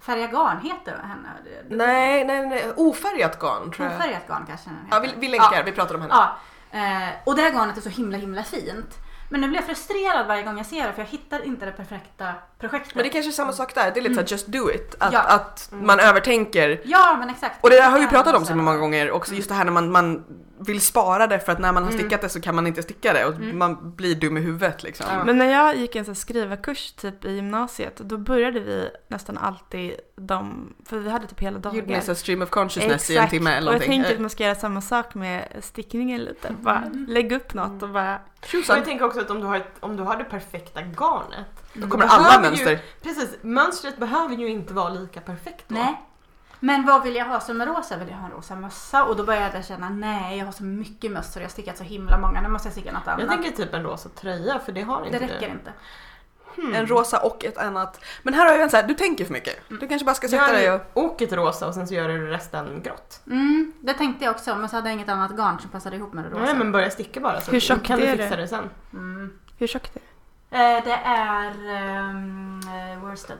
S2: Färga garn heter henne.
S1: Nej, nej, nej. Ofärgat garn tror jag.
S2: Ofärgat garn kanske den heter.
S1: Ja, vi, vi länkar, vi pratar om henne.
S2: Ja, eh, och det här garnet är så himla himla fint. Men nu blir jag frustrerad varje gång jag ser det för jag hittar inte det perfekta projektet.
S1: Men det kanske är samma sak där, det är lite såhär just do it. Att,
S2: Ja.
S1: att man övertänker.
S2: Ja men exakt.
S1: Och det där har vi pratat om så
S2: Så-
S1: många gånger också, just det här när man, man vill spara det för att när man
S4: Mm.
S1: har stickat det så kan man inte sticka det och man blir dum i huvudet liksom.
S4: Ja.
S3: Men när jag gick en sån här skrivarkurs typ i gymnasiet då började vi nästan alltid de, för vi hade typ hela dagar.
S1: Gjorde ni såhär stream of consciousness i en timme eller
S3: och jag
S1: någonting? Eh.
S3: tänker att man ska göra samma sak med stickningen lite. Bara lägg upp något och bara,
S4: Och
S1: Eh, Tjosan!
S4: jag tänker också att om du har, ett, om du har det perfekta garnet.
S1: Då kommer
S4: då
S1: alla
S4: behöver ju-
S1: mönster.
S4: Precis, mönstret behöver ju inte vara lika perfekt då.
S2: Nej. Men vad vill jag ha som rosa? Vill jag ha en rosa mössa? Och då började jag känna nej jag har så mycket mössor jag har stickat så himla många. Nu måste jag sticka något annat.
S4: Jag tänker typ en rosa tröja för det har
S2: det
S4: inte du.
S2: räcker inte.
S4: hmm.
S1: En rosa och ett annat. Men här har jag en såhär, du tänker för mycket.
S4: Mm.
S1: Du kanske bara ska sätta dig
S4: Gör
S1: och...
S4: oket rosa och sen så gör du resten grått.
S2: Mm, det tänkte jag också men så hade jag inget annat garn som passade ihop med det rosa.
S4: Nej men börja sticka bara så
S3: Hur tjockt
S4: kan du
S3: är
S4: fixa
S3: det?
S4: det sen.
S2: mm.
S3: hur tjockt är det?
S2: eh, det är ehm, eh, worsted.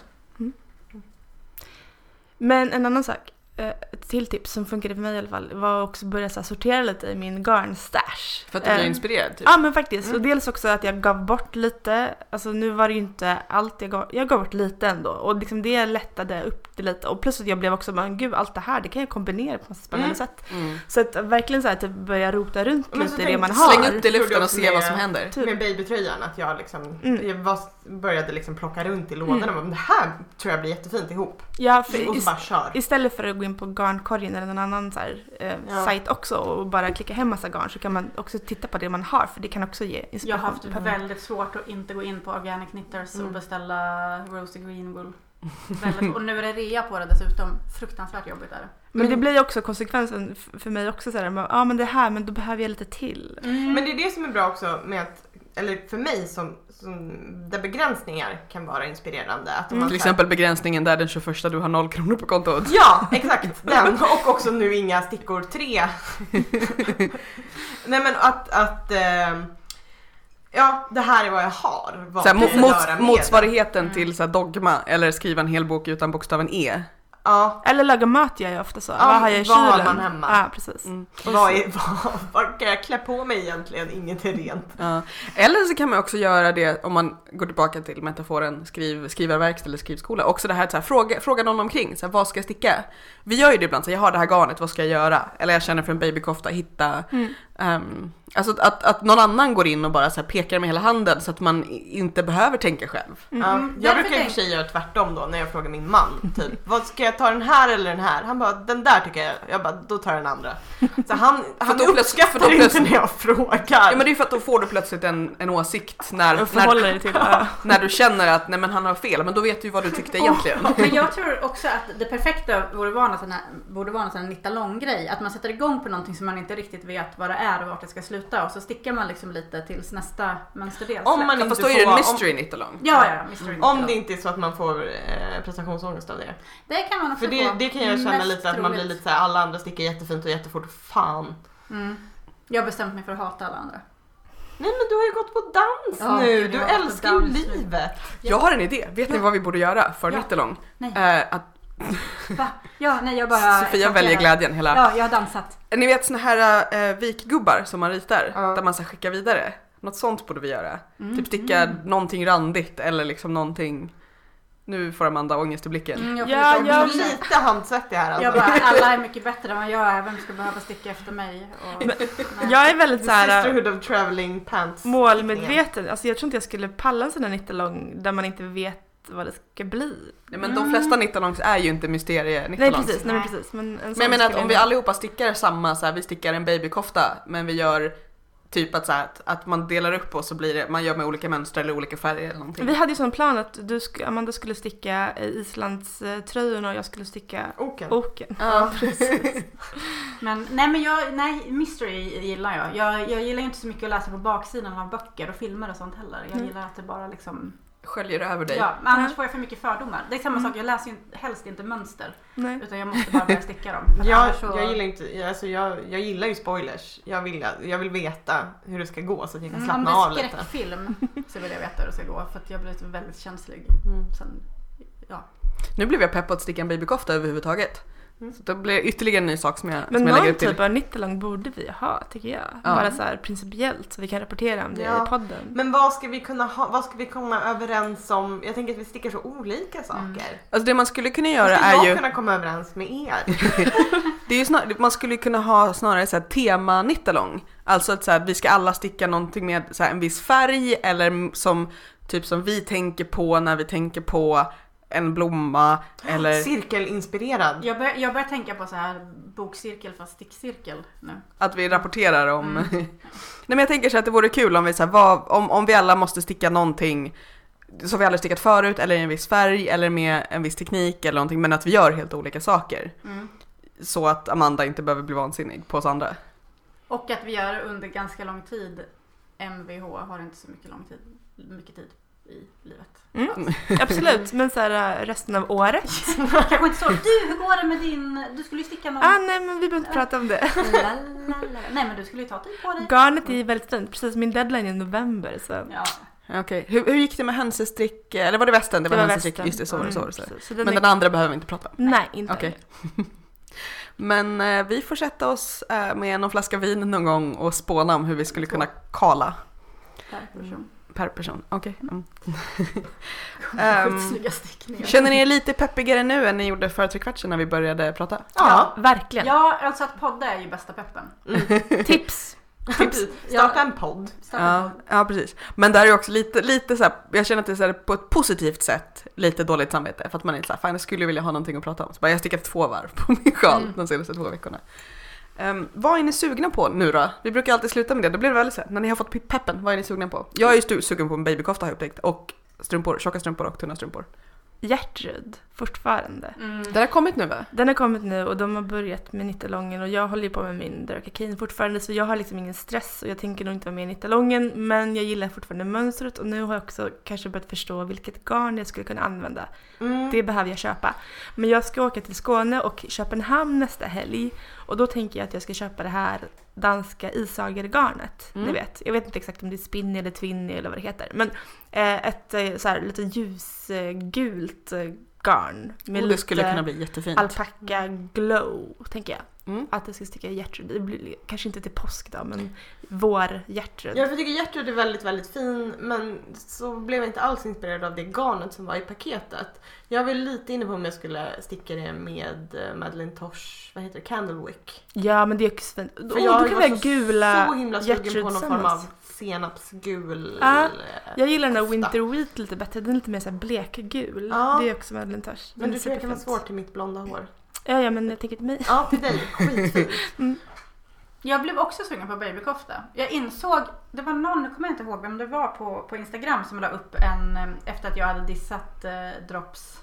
S3: Men en annan sak, eh, ett till tips som funkade för mig i alla fall var också att börja så här, sortera lite i min garnstash.
S1: För att du blir
S3: Eh,
S1: inspirerad typ.
S3: Ja men faktiskt. Och
S4: Mm.
S3: dels också att jag gav bort lite. Alltså nu var det ju inte allt jag gav. Jag gav bort lite ändå. Och liksom det lättade upp det lite. Och plus att jag blev också bara, gud allt det här det kan jag kombinera på massa spännande
S4: Mm.
S3: sätt.
S1: Mm.
S3: Så att verkligen så här, typ börja rota runt
S4: Men så
S3: lite i det
S4: tänk-
S3: man har.
S1: Släng upp det i luften
S4: Gjorde
S1: och se
S4: också Mm.
S1: vad som
S4: med-
S1: händer.
S3: Typ.
S4: Med babytröjan att jag liksom
S3: Mm.
S4: jag var, började liksom plocka runt i lådorna och bara, "Men det här tror jag blir jättefint ihop.
S3: Ja, för
S4: Och så
S3: ist-
S4: bara kör.
S3: istället för att gå in på garnkorgen eller någon annan så här, eh,
S4: Ja.
S3: sajt också och bara klicka hem massa garn så kan man också titta på det man har för det kan också ge
S2: Jag har
S3: inspiration.
S2: haft väldigt svårt att inte gå in på Organic Knitters och
S4: Mm.
S2: beställa Rosie Green Wool. Väldigt, och nu är det rea på det dessutom. Fruktansvärt jobbigt är det.
S3: Men det blir ju också konsekvensen f- för mig också så här, ja ah, men det här men då behöver jag lite till.
S4: Men det är det som är bra också med att, eller för mig som, som där begränsningar kan vara inspirerande. Att om
S3: Mm.
S4: man
S1: Till
S4: så här-
S1: exempel begränsningen där den 21 du har noll kronor på kontot.
S4: Ja, exakt den. Och också nu inga stickor tre. Nej men att, att ehm, ja det här är vad jag har. Vad
S1: Såhär,
S4: kan jag
S1: mo- mots-
S4: göra med det? Mm.
S1: motsvarigheten till såhär, dogma eller skriva en hel bok utan bokstaven E.
S4: Ja,
S3: Eller laga mat gör jag ofta så.
S4: Ja,
S3: vad har jag i
S4: vad
S3: kylen?
S4: har man hemma?
S3: Ja, precis.
S1: Mm.
S4: vad, är, vad, vad kan jag klä på mig egentligen? Inget är rent.
S1: Ja. Eller så kan man också göra det om man går tillbaka till metaforen skriv, skrivarverkstad eller skrivskola. Också det här att så här, fråga, fråga någon omkring, så här, vad ska jag sticka? Vi gör ju det ibland, så här, jag har det här garnet, vad ska jag göra? Eller jag känner för en babykofta, hitta. ehm, alltså att, att, att någon annan går in och bara så här, pekar med hela handen så att man i- inte behöver tänka själv.
S4: Ja, jag
S2: Därför
S4: brukar i och för
S2: tänk-
S4: sig göra tvärtom då när jag frågar min man. Typ, vad ska jag ta den här eller den här? Han bara, den där tycker jag. Jag bara, då tar jag den andra. Så han, han
S1: då plöts- för då
S4: uppskattar inte
S1: plötsligt-
S4: när jag frågar.
S1: Ja men det är för att då får du plötsligt en, en åsikt när,
S3: Och
S1: när,
S3: förhåller dig till. Ja.
S1: när du känner att nej men han har fel, men då vet du ju vad du tyckte egentligen.
S2: Men jag tror också att det perfekta borde vara någon sån här, borde vara någon sån här Nitta Lång-grej. Att man sätter igång på någonting som man inte riktigt vet vad det är och vart det ska sluta. Och så stickar man liksom lite tills nästa mönsterdel
S4: Om man
S2: släpps.
S4: inte
S1: Fast då är det en
S4: får- om-
S1: mystery Nitto Long.
S2: Ja, ja, Mr. Nitta
S4: Om
S2: Lång.
S4: det inte är så att man får eh, prestationsångest av det.
S2: Det kan man också
S4: För det,
S2: få.
S4: det kan jag känna
S2: Mest
S4: lite att man blir
S2: troligt.
S4: lite såhär, alla andra sticker jättefint och jättefort. Fan.
S2: Mm. Jag har bestämt mig för att hata alla andra.
S4: Nej men du har ju gått på dans
S2: Ja,
S4: nu.
S2: gud,
S4: Du
S2: jag har gått på
S4: älskar ju
S2: dans nu.
S4: livet.
S1: Jag har en idé. Vet ni vad vi borde göra för
S2: Ja.
S1: Nitto Long?
S2: Nej.
S1: Eh, att
S2: Va? Ja, nej jag bara...
S1: Sofia väljer glädjen hela...
S2: Ja, jag har dansat.
S1: Ni vet såna här eh, vikgubbar som man ritar,
S4: Ja.
S1: där man ska skicka vidare. Något sånt borde vi göra.
S2: Mm.
S1: Typ sticka någonting randigt eller liksom någonting... Nu får Amanda ångest i blicken.
S2: Mm, jag får
S3: Ja,
S2: lite
S4: Jag blir
S3: jag-
S2: ångest.
S4: lite handsvettig här alltså.
S2: Jag bara, alla är mycket bättre än vad jag är, vem ska behöva sticka efter mig? Och,
S3: Men-
S2: Nej.
S3: Jag är väldigt så här
S2: äh,
S4: Sisterhood of traveling pants.
S3: målmedveten. Alltså jag tror inte jag skulle palla en sån där nittalång där man inte vet vad det ska bli.
S1: Nej, men de
S2: Mm.
S1: flesta 19-långs är ju inte mysterie 19
S3: Nej precis, nej, men precis. Men, en
S1: Men
S3: sån
S1: jag menar att
S3: skulle
S1: om vi allihopa stickar samma, så här, vi stickar en babykofta men vi gör typ att, så här, att, att man delar upp och så blir det, man gör med olika mönster eller olika färger eller någonting.
S3: Vi hade ju sån plan att du, sk- Amanda skulle sticka eh, Islands eh, tröjorna och jag skulle sticka
S4: Oken.
S2: Oh,
S3: oken.
S1: Ja, precis.
S2: Men, nej men jag, nej, mystery gillar jag. jag. Jag gillar ju inte så mycket att läsa på baksidan av böcker och filmer och sånt heller. Jag
S3: Mm.
S2: gillar att det bara liksom,
S1: Sköljer över dig.
S2: ja, men annars
S3: Mm.
S2: får jag för mycket fördomar. Det är samma
S3: Mm.
S2: sak, jag läser ju inte- helst inte mönster.
S3: Nej.
S2: Utan jag måste bara börja sticka dem. För
S4: Jag,
S2: annars så-
S4: jag, gillar inte, jag- alltså jag, jag gillar ju spoilers. Jag vill, jag vill veta hur det ska gå så att jag kan
S2: Mm, om
S4: slappna
S2: det
S4: av
S2: är
S4: lite.
S2: skräckfilm så vill jag veta hur det ska gå för att jag blir väldigt känslig.
S4: Mm.
S2: Sen, ja.
S1: Nu blev jag pepp på att sticka en babykofta överhuvudtaget.
S4: Mm.
S1: Så det blir ytterligare en ny sak som jag, som
S3: Men
S1: jag lägger
S3: någon
S1: upp till.
S3: typ av nittalong borde vi ha tycker jag.
S1: Ja.
S3: Bara så här principiellt så vi kan rapportera om det
S4: Ja.
S3: i podden.
S4: Men vad ska vi kunna ha, vad ska vi komma överens om? Jag tänker att vi stickar så olika saker.
S2: Mm.
S1: Alltså det man skulle kunna
S4: Vad
S1: göra
S4: ska
S1: är
S4: jag
S1: ju,
S4: kunna komma överens med er?
S1: det är ju snar, man skulle ju kunna ha snarare så här tema nittalong. Alltså att så här, vi ska alla sticka någonting med så här, en viss färg eller m- som typ som vi tänker på när vi tänker på en blomma
S4: Ah,
S1: eller
S4: Cirkelinspirerad.
S2: Jag, bör, jag börjar tänka på så här bokcirkel fast stickcirkel nu.
S1: Att vi rapporterar om... Nej men jag tänker så här att det vore kul om vi, så här, vad, om, om vi alla måste sticka någonting som vi aldrig stickat förut eller i en viss färg eller med en viss teknik eller någonting men att vi gör helt olika saker.
S2: Mm.
S1: Så att Amanda inte behöver bli vansinnig på oss andra.
S2: Och att vi gör under ganska lång tid. MVH har inte så mycket lång tid, mycket tid i livet.
S3: Mm. Absolut, men så här eh, resten av året.
S2: Kanske inte så. Du, hur går det med din... Du skulle ju sticka någon...
S3: Ah, nej men vi behöver inte prata om det.
S2: La, la, la. Nej men du skulle ju ta tid på dig.
S3: Garnet är väldigt fint, precis min deadline är i november så.
S2: Ja.
S1: Okej, hur, hur gick det med hönsestrick? Eller var det västen? Det var, hönsestrick,
S3: västen.
S1: just det, så var det. Så, var det,
S3: Mm,
S1: så.
S3: precis. Så den
S1: Men
S3: är-
S1: den andra behöver vi inte prata om.
S3: Nej, inte
S1: Okej.
S3: okay.
S1: Men eh, vi får sätta oss eh, med någon flaska vin någon gång och spåna om hur vi skulle kunna kala
S2: Per
S4: Mm.
S2: person.
S1: per person. Okej. Mm. Ehm,
S2: Sjukt snygga stickningar.
S1: Känner ni er lite peppigare nu än ni gjorde för tre kvart sedan när vi började prata?
S3: Ja,
S4: Ja.
S3: verkligen.
S2: Ja, alltså att podda är ju bästa peppen.
S3: Tips!
S4: Tips. Starta en podd.
S2: Starta
S1: Ja,
S2: podd.
S1: ja, precis. Men där är också lite, lite så här, jag känner att det är så här, på ett positivt sätt lite dåligt samvete för att man är så här, fan jag skulle vilja ha någonting att prata om. Så bara, jag har stickat två varv på min sjal
S2: Mm.
S1: de senaste två veckorna. Ehm, vad är ni sugna på nu då? Vi brukar alltid sluta med det, då blir det väl så här, när ni har fått peppen, vad är ni sugna på? Jag är ju stu- sugen på en babykofta har jag upptäckt och strumpor, tjocka strumpor och tunna strumpor.
S3: Gertrud, fortfarande.
S2: Mm.
S1: Det har kommit nu va?
S3: Den har kommit nu och de har börjat med nittalongen och jag håller ju på med min Derokakin fortfarande så jag har liksom ingen stress och jag tänker nog inte vara med i nittalongen men jag gillar fortfarande mönstret och nu har jag också kanske börjat förstå vilket garn jag skulle kunna använda.
S4: Mm.
S3: Det behöver jag köpa. Men jag ska åka till Skåne och Köpenhamn nästa helg och då tänker jag att jag ska köpa det här danska isagergarnet.
S1: Mm.
S3: Ni vet, jag vet inte exakt om det är spinny eller twinny eller vad det heter men eh, ett eh, så här, lite ljusgult eh, garn med
S1: Och det
S3: lite
S1: skulle kunna bli jättefint.
S3: alpacka glow tänker jag.
S1: Mm.
S3: Att jag ska sticka Gertrud. Det blir kanske inte till påsk då men vår Gertrud.
S4: Ja, för Jag tycker Gertrud är väldigt, väldigt fin men så blev jag inte alls inspirerad av det garnet som var i paketet. Jag var lite inne på om jag skulle sticka det med eh, Madeleine Tosh, vad heter det, Candlewick.
S3: Ja men det är också fint.
S4: För
S3: Åh, då kan vi
S4: var
S3: ha
S4: så-
S3: gula
S4: så himla sugen
S3: Gertrud
S4: på någon form
S3: tillsammans.
S4: av senapsgul.
S3: Ja,
S4: eh,
S3: Jag gillar den där
S4: kofta.
S3: Winter Wheat lite bättre, den är lite mer så här blekgul.
S4: Ja.
S3: Det är också Madeleine Tosh. Den
S4: Men du
S3: är
S4: tror jag kan vara
S3: superfint.
S4: svårt till mitt blonda hår.
S3: Ja, ja men jag tänker till mig.
S4: Ja, till dig. Skitfint.
S2: Jag blev också sugen på babykofta. Jag insåg, det var någon, nu kommer jag inte ihåg vem det var på, på Instagram som la upp en, eh, efter att jag hade dissat eh, Drops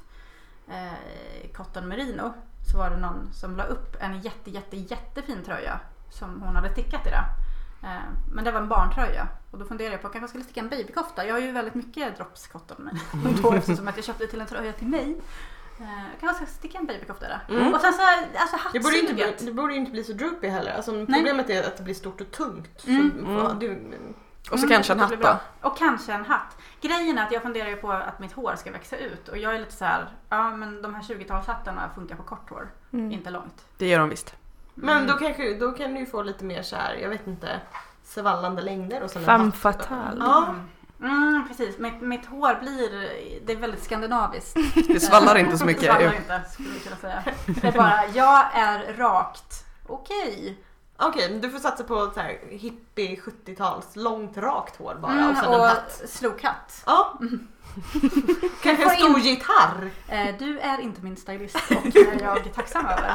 S2: eh, Cotton Merino, så var det någon som la upp en jätte, jätte, jättefin tröja som hon hade stickat i det. Eh, men det var en barntröja och då funderade jag på kanske jag skulle sticka en babykofta. Jag har ju väldigt mycket Drops Cotton Merino eftersom att jag köpte till en tröja till mig. Eh, jag kanske ska sticka en babykofta i det.
S4: Mm.
S2: Och sen så, här, alltså
S4: Det borde, ju inte bli,
S2: hattsuget.
S4: det borde ju inte bli så droopy heller. Alltså, problemet är att det blir stort och tungt.
S2: Mm.
S4: Så, ja,
S1: Mm.
S4: det,
S1: Och så
S2: Mm,
S1: kanske en
S2: det
S1: hatt
S2: blir
S1: då.
S2: bra. Och kanske en hatt. Grejen är att jag funderar ju på att mitt hår ska växa ut och jag är lite så här, ja men de här 20-talshattarna funkar på kort hår,
S3: Mm.
S2: inte långt. Mm.
S1: Det gör de visst.
S4: Men då, kanske, då kan du ju få lite mer så här, jag vet inte, svallande längder och sådana
S3: Femme fatale.
S4: Ja.
S2: Mm. Mm, precis, mitt, mitt hår blir, det är väldigt skandinaviskt.
S1: Det svallar inte så
S2: Det
S1: mycket.
S2: svallar inte skulle jag kunna säga. Det är bara, jag är rakt, okej.
S4: Okej, men du får satsa på så här hippie 70-tals, långt rakt hår bara och sen
S2: Mm, och
S4: en hatt.
S2: slog hatt.
S4: Ja. Kanske en
S2: Får
S4: stor
S2: in-
S4: gitarr.
S2: Eh, Du är inte min stylist och det är jag tacksam över.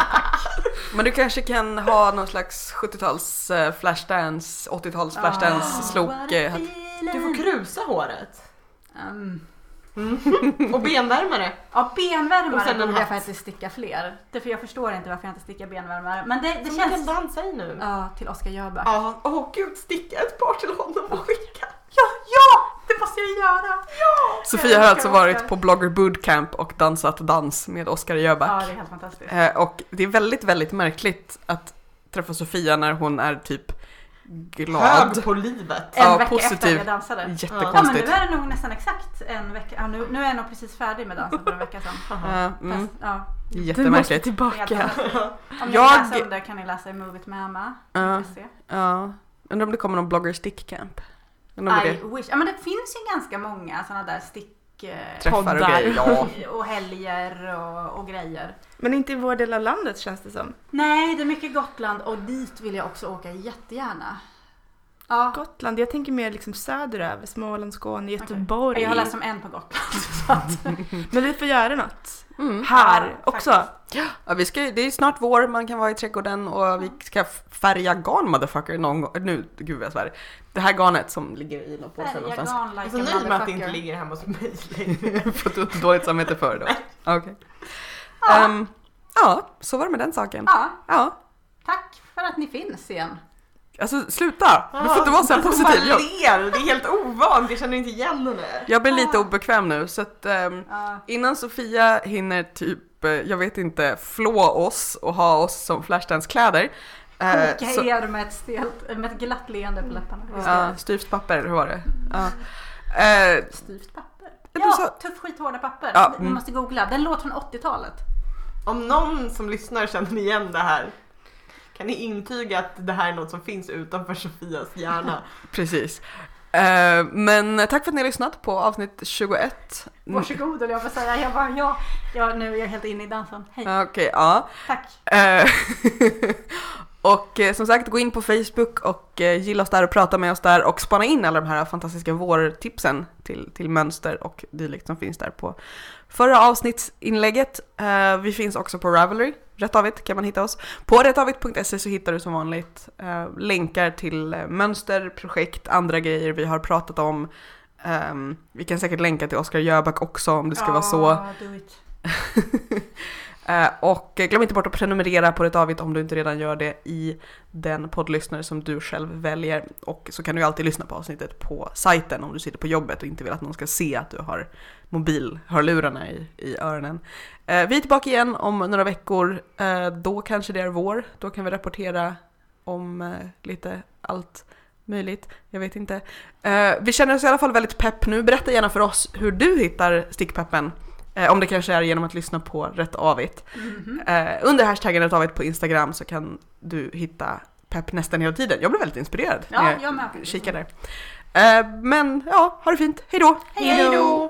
S1: Men du kanske kan ha någon slags 70-tals eh, flashdance, 80-tals
S2: Ah.
S1: flashdance
S2: What
S1: slok.
S2: a
S1: eh, hatt.
S2: feeling.
S4: Du får krusa håret.
S2: Ehm, Mm.
S4: Och benvärmare.
S2: Ja,
S4: Och
S2: benvärmare
S4: sen en
S2: borde jag
S4: hatt.
S2: faktiskt sticka fler. Därför jag förstår inte varför jag inte stickar benvärmare. Men det, det
S4: Som man kan
S2: känns...
S4: dansa i nu.
S2: Ja, till Oskar Jöback.
S4: Ja, åh gud, sticka ett par till honom och skicka.
S2: Ja, ja! Det måste jag göra! Ja!
S1: Sofia har alltså varit på Blogger Bootcamp och dansat dans med Oskar
S2: Ja,
S1: Jöback.
S2: det är helt fantastiskt.
S1: Eh, Och det är väldigt, väldigt märkligt att träffa Sofia när hon är typ glad.
S4: Hög på livet.
S2: En
S1: ja,
S2: vecka efter
S1: positiv.
S2: jag dansade. Ja, men nu
S1: Jättekonstigt.
S2: är det nog nästan exakt en vecka. Ja, nu, nu är jag nog precis färdig med dansen för en vecka sedan. Fast,
S1: Ja, mm,
S2: ja,
S3: Du måste
S1: jättemärkligt.
S2: helt
S3: tillbaka.
S2: fantastiskt. Om ni
S1: Jag-
S2: vill läsa om det kan ni läsa i Move It Med Emma.
S1: Ja,
S2: Se.
S1: ja. Undrar om det kommer någon Blogger Stickcamp? Undrar om
S2: I
S1: det
S2: wish. Ja, men det finns ju ganska många sådana där stick... eh,
S1: träffar och
S3: Poddar.
S1: grejer. Ja.
S2: Och helger och, och grejer.
S3: Men inte i vår del av landet känns det som.
S2: Nej, det är mycket Gotland och dit vill jag också åka jättegärna. Ja.
S3: Gotland, jag tänker mer liksom söderöver, Småland, Skåne, Göteborg.
S2: Jag har läst om en på Gotland. Så att,
S3: Men vi får göra något.
S1: Mm.
S3: Här
S2: Ja,
S3: också.
S1: Ja, vi ska, ju- det är ju snart vår, man kan vara i trädgården och vi ska f- färga garn motherfucker någon gång. Nu, gud vad jag svär. Det här garnet som ligger i någon påse
S2: Färga
S1: någonstans.
S2: garn like
S4: Jag är
S2: a
S4: så nöjd Alltså, med att det inte
S2: motherfucker.
S4: ligger hemma hos mig längre.
S1: För att du har dåligt samvete för det då. Okej.
S2: Ja.
S1: Ehm, ja, så var det med den saken.
S2: Ja,
S1: Ja.
S2: tack för att ni finns igen.
S1: Alltså sluta! Du får inte vara så här
S4: Alltså,
S1: positiv.
S4: Hon
S1: Jag,
S4: bara ler, det är helt ovant, jag känner inte igen henne.
S1: jag blir lite obekväm nu så att ehm,
S2: Ja.
S1: innan Sofia hinner typ, eh, jag vet inte, flå oss och ha oss som Flashdance-kläder. eh,
S2: Koka
S1: så-
S2: er med ett, stelt, med ett glatt leende på läpparna. Just det.
S1: Ja, styvt papper, hur var det? Ja. Eh,
S2: Styvt papper.
S1: Ja,
S2: Ja,
S1: du sa-
S2: tuff skit hårda papper.
S1: Ja,
S2: Ni
S1: mm.
S2: måste googla. Den låter från 80-talet.
S4: Om någon som lyssnar känner igen det här, kan ni intyga att det här är något som finns utanför Sofias hjärna?
S1: Precis. Eh, men tack för att ni har lyssnat på avsnitt 21. Mm,
S2: Varsågod höll jag på att säga. Jag bara, ja, ja, nu är jag helt inne i dansen. Hej,
S1: Mm. Okej, ja.
S2: tack.
S1: Eh, och eh, som sagt, gå in på Facebook och eh, gilla oss där och prata med oss där och spana in alla de här fantastiska vårtipsen till, till mönster och dylikt som finns där på förra avsnittsinlägget. Eh, vi finns också på Ravelry, Rättavigt kan man hitta oss. På rättavigt.se E så hittar du som vanligt eh, länkar till eh, mönster, projekt, andra grejer vi har pratat om. Ehm, vi kan säkert länka till Oskar Jöback också om det ska vara så.
S2: Ja, do it.
S1: Eh, och glöm inte bort att prenumerera på Rättavigt om du inte redan gör det i den poddlyssnare som du själv väljer. Och så kan du ju alltid lyssna på avsnittet på sajten om du sitter på jobbet och inte vill att någon ska se att du har mobilhörlurarna i, i öronen. Eh, vi är tillbaka igen om några veckor. Eh, då kanske det är vår. Då kan vi rapportera om eh, lite allt möjligt. Jag vet inte. Eh, vi känner oss i alla fall väldigt pepp nu. Berätta gärna för oss hur du hittar stickpeppen. Eh, om det kanske är genom att lyssna på Rätt Avigt.
S2: Mhm.
S1: Eh, under hashtaggen Rättavigt på Instagram så kan du hitta pepp nästan hela tiden. Jag blev väldigt inspirerad
S2: Ja,
S1: när
S2: jag med.
S1: jag kikade där. Eh, men ja, ha det fint. Hej då!
S2: Hej då!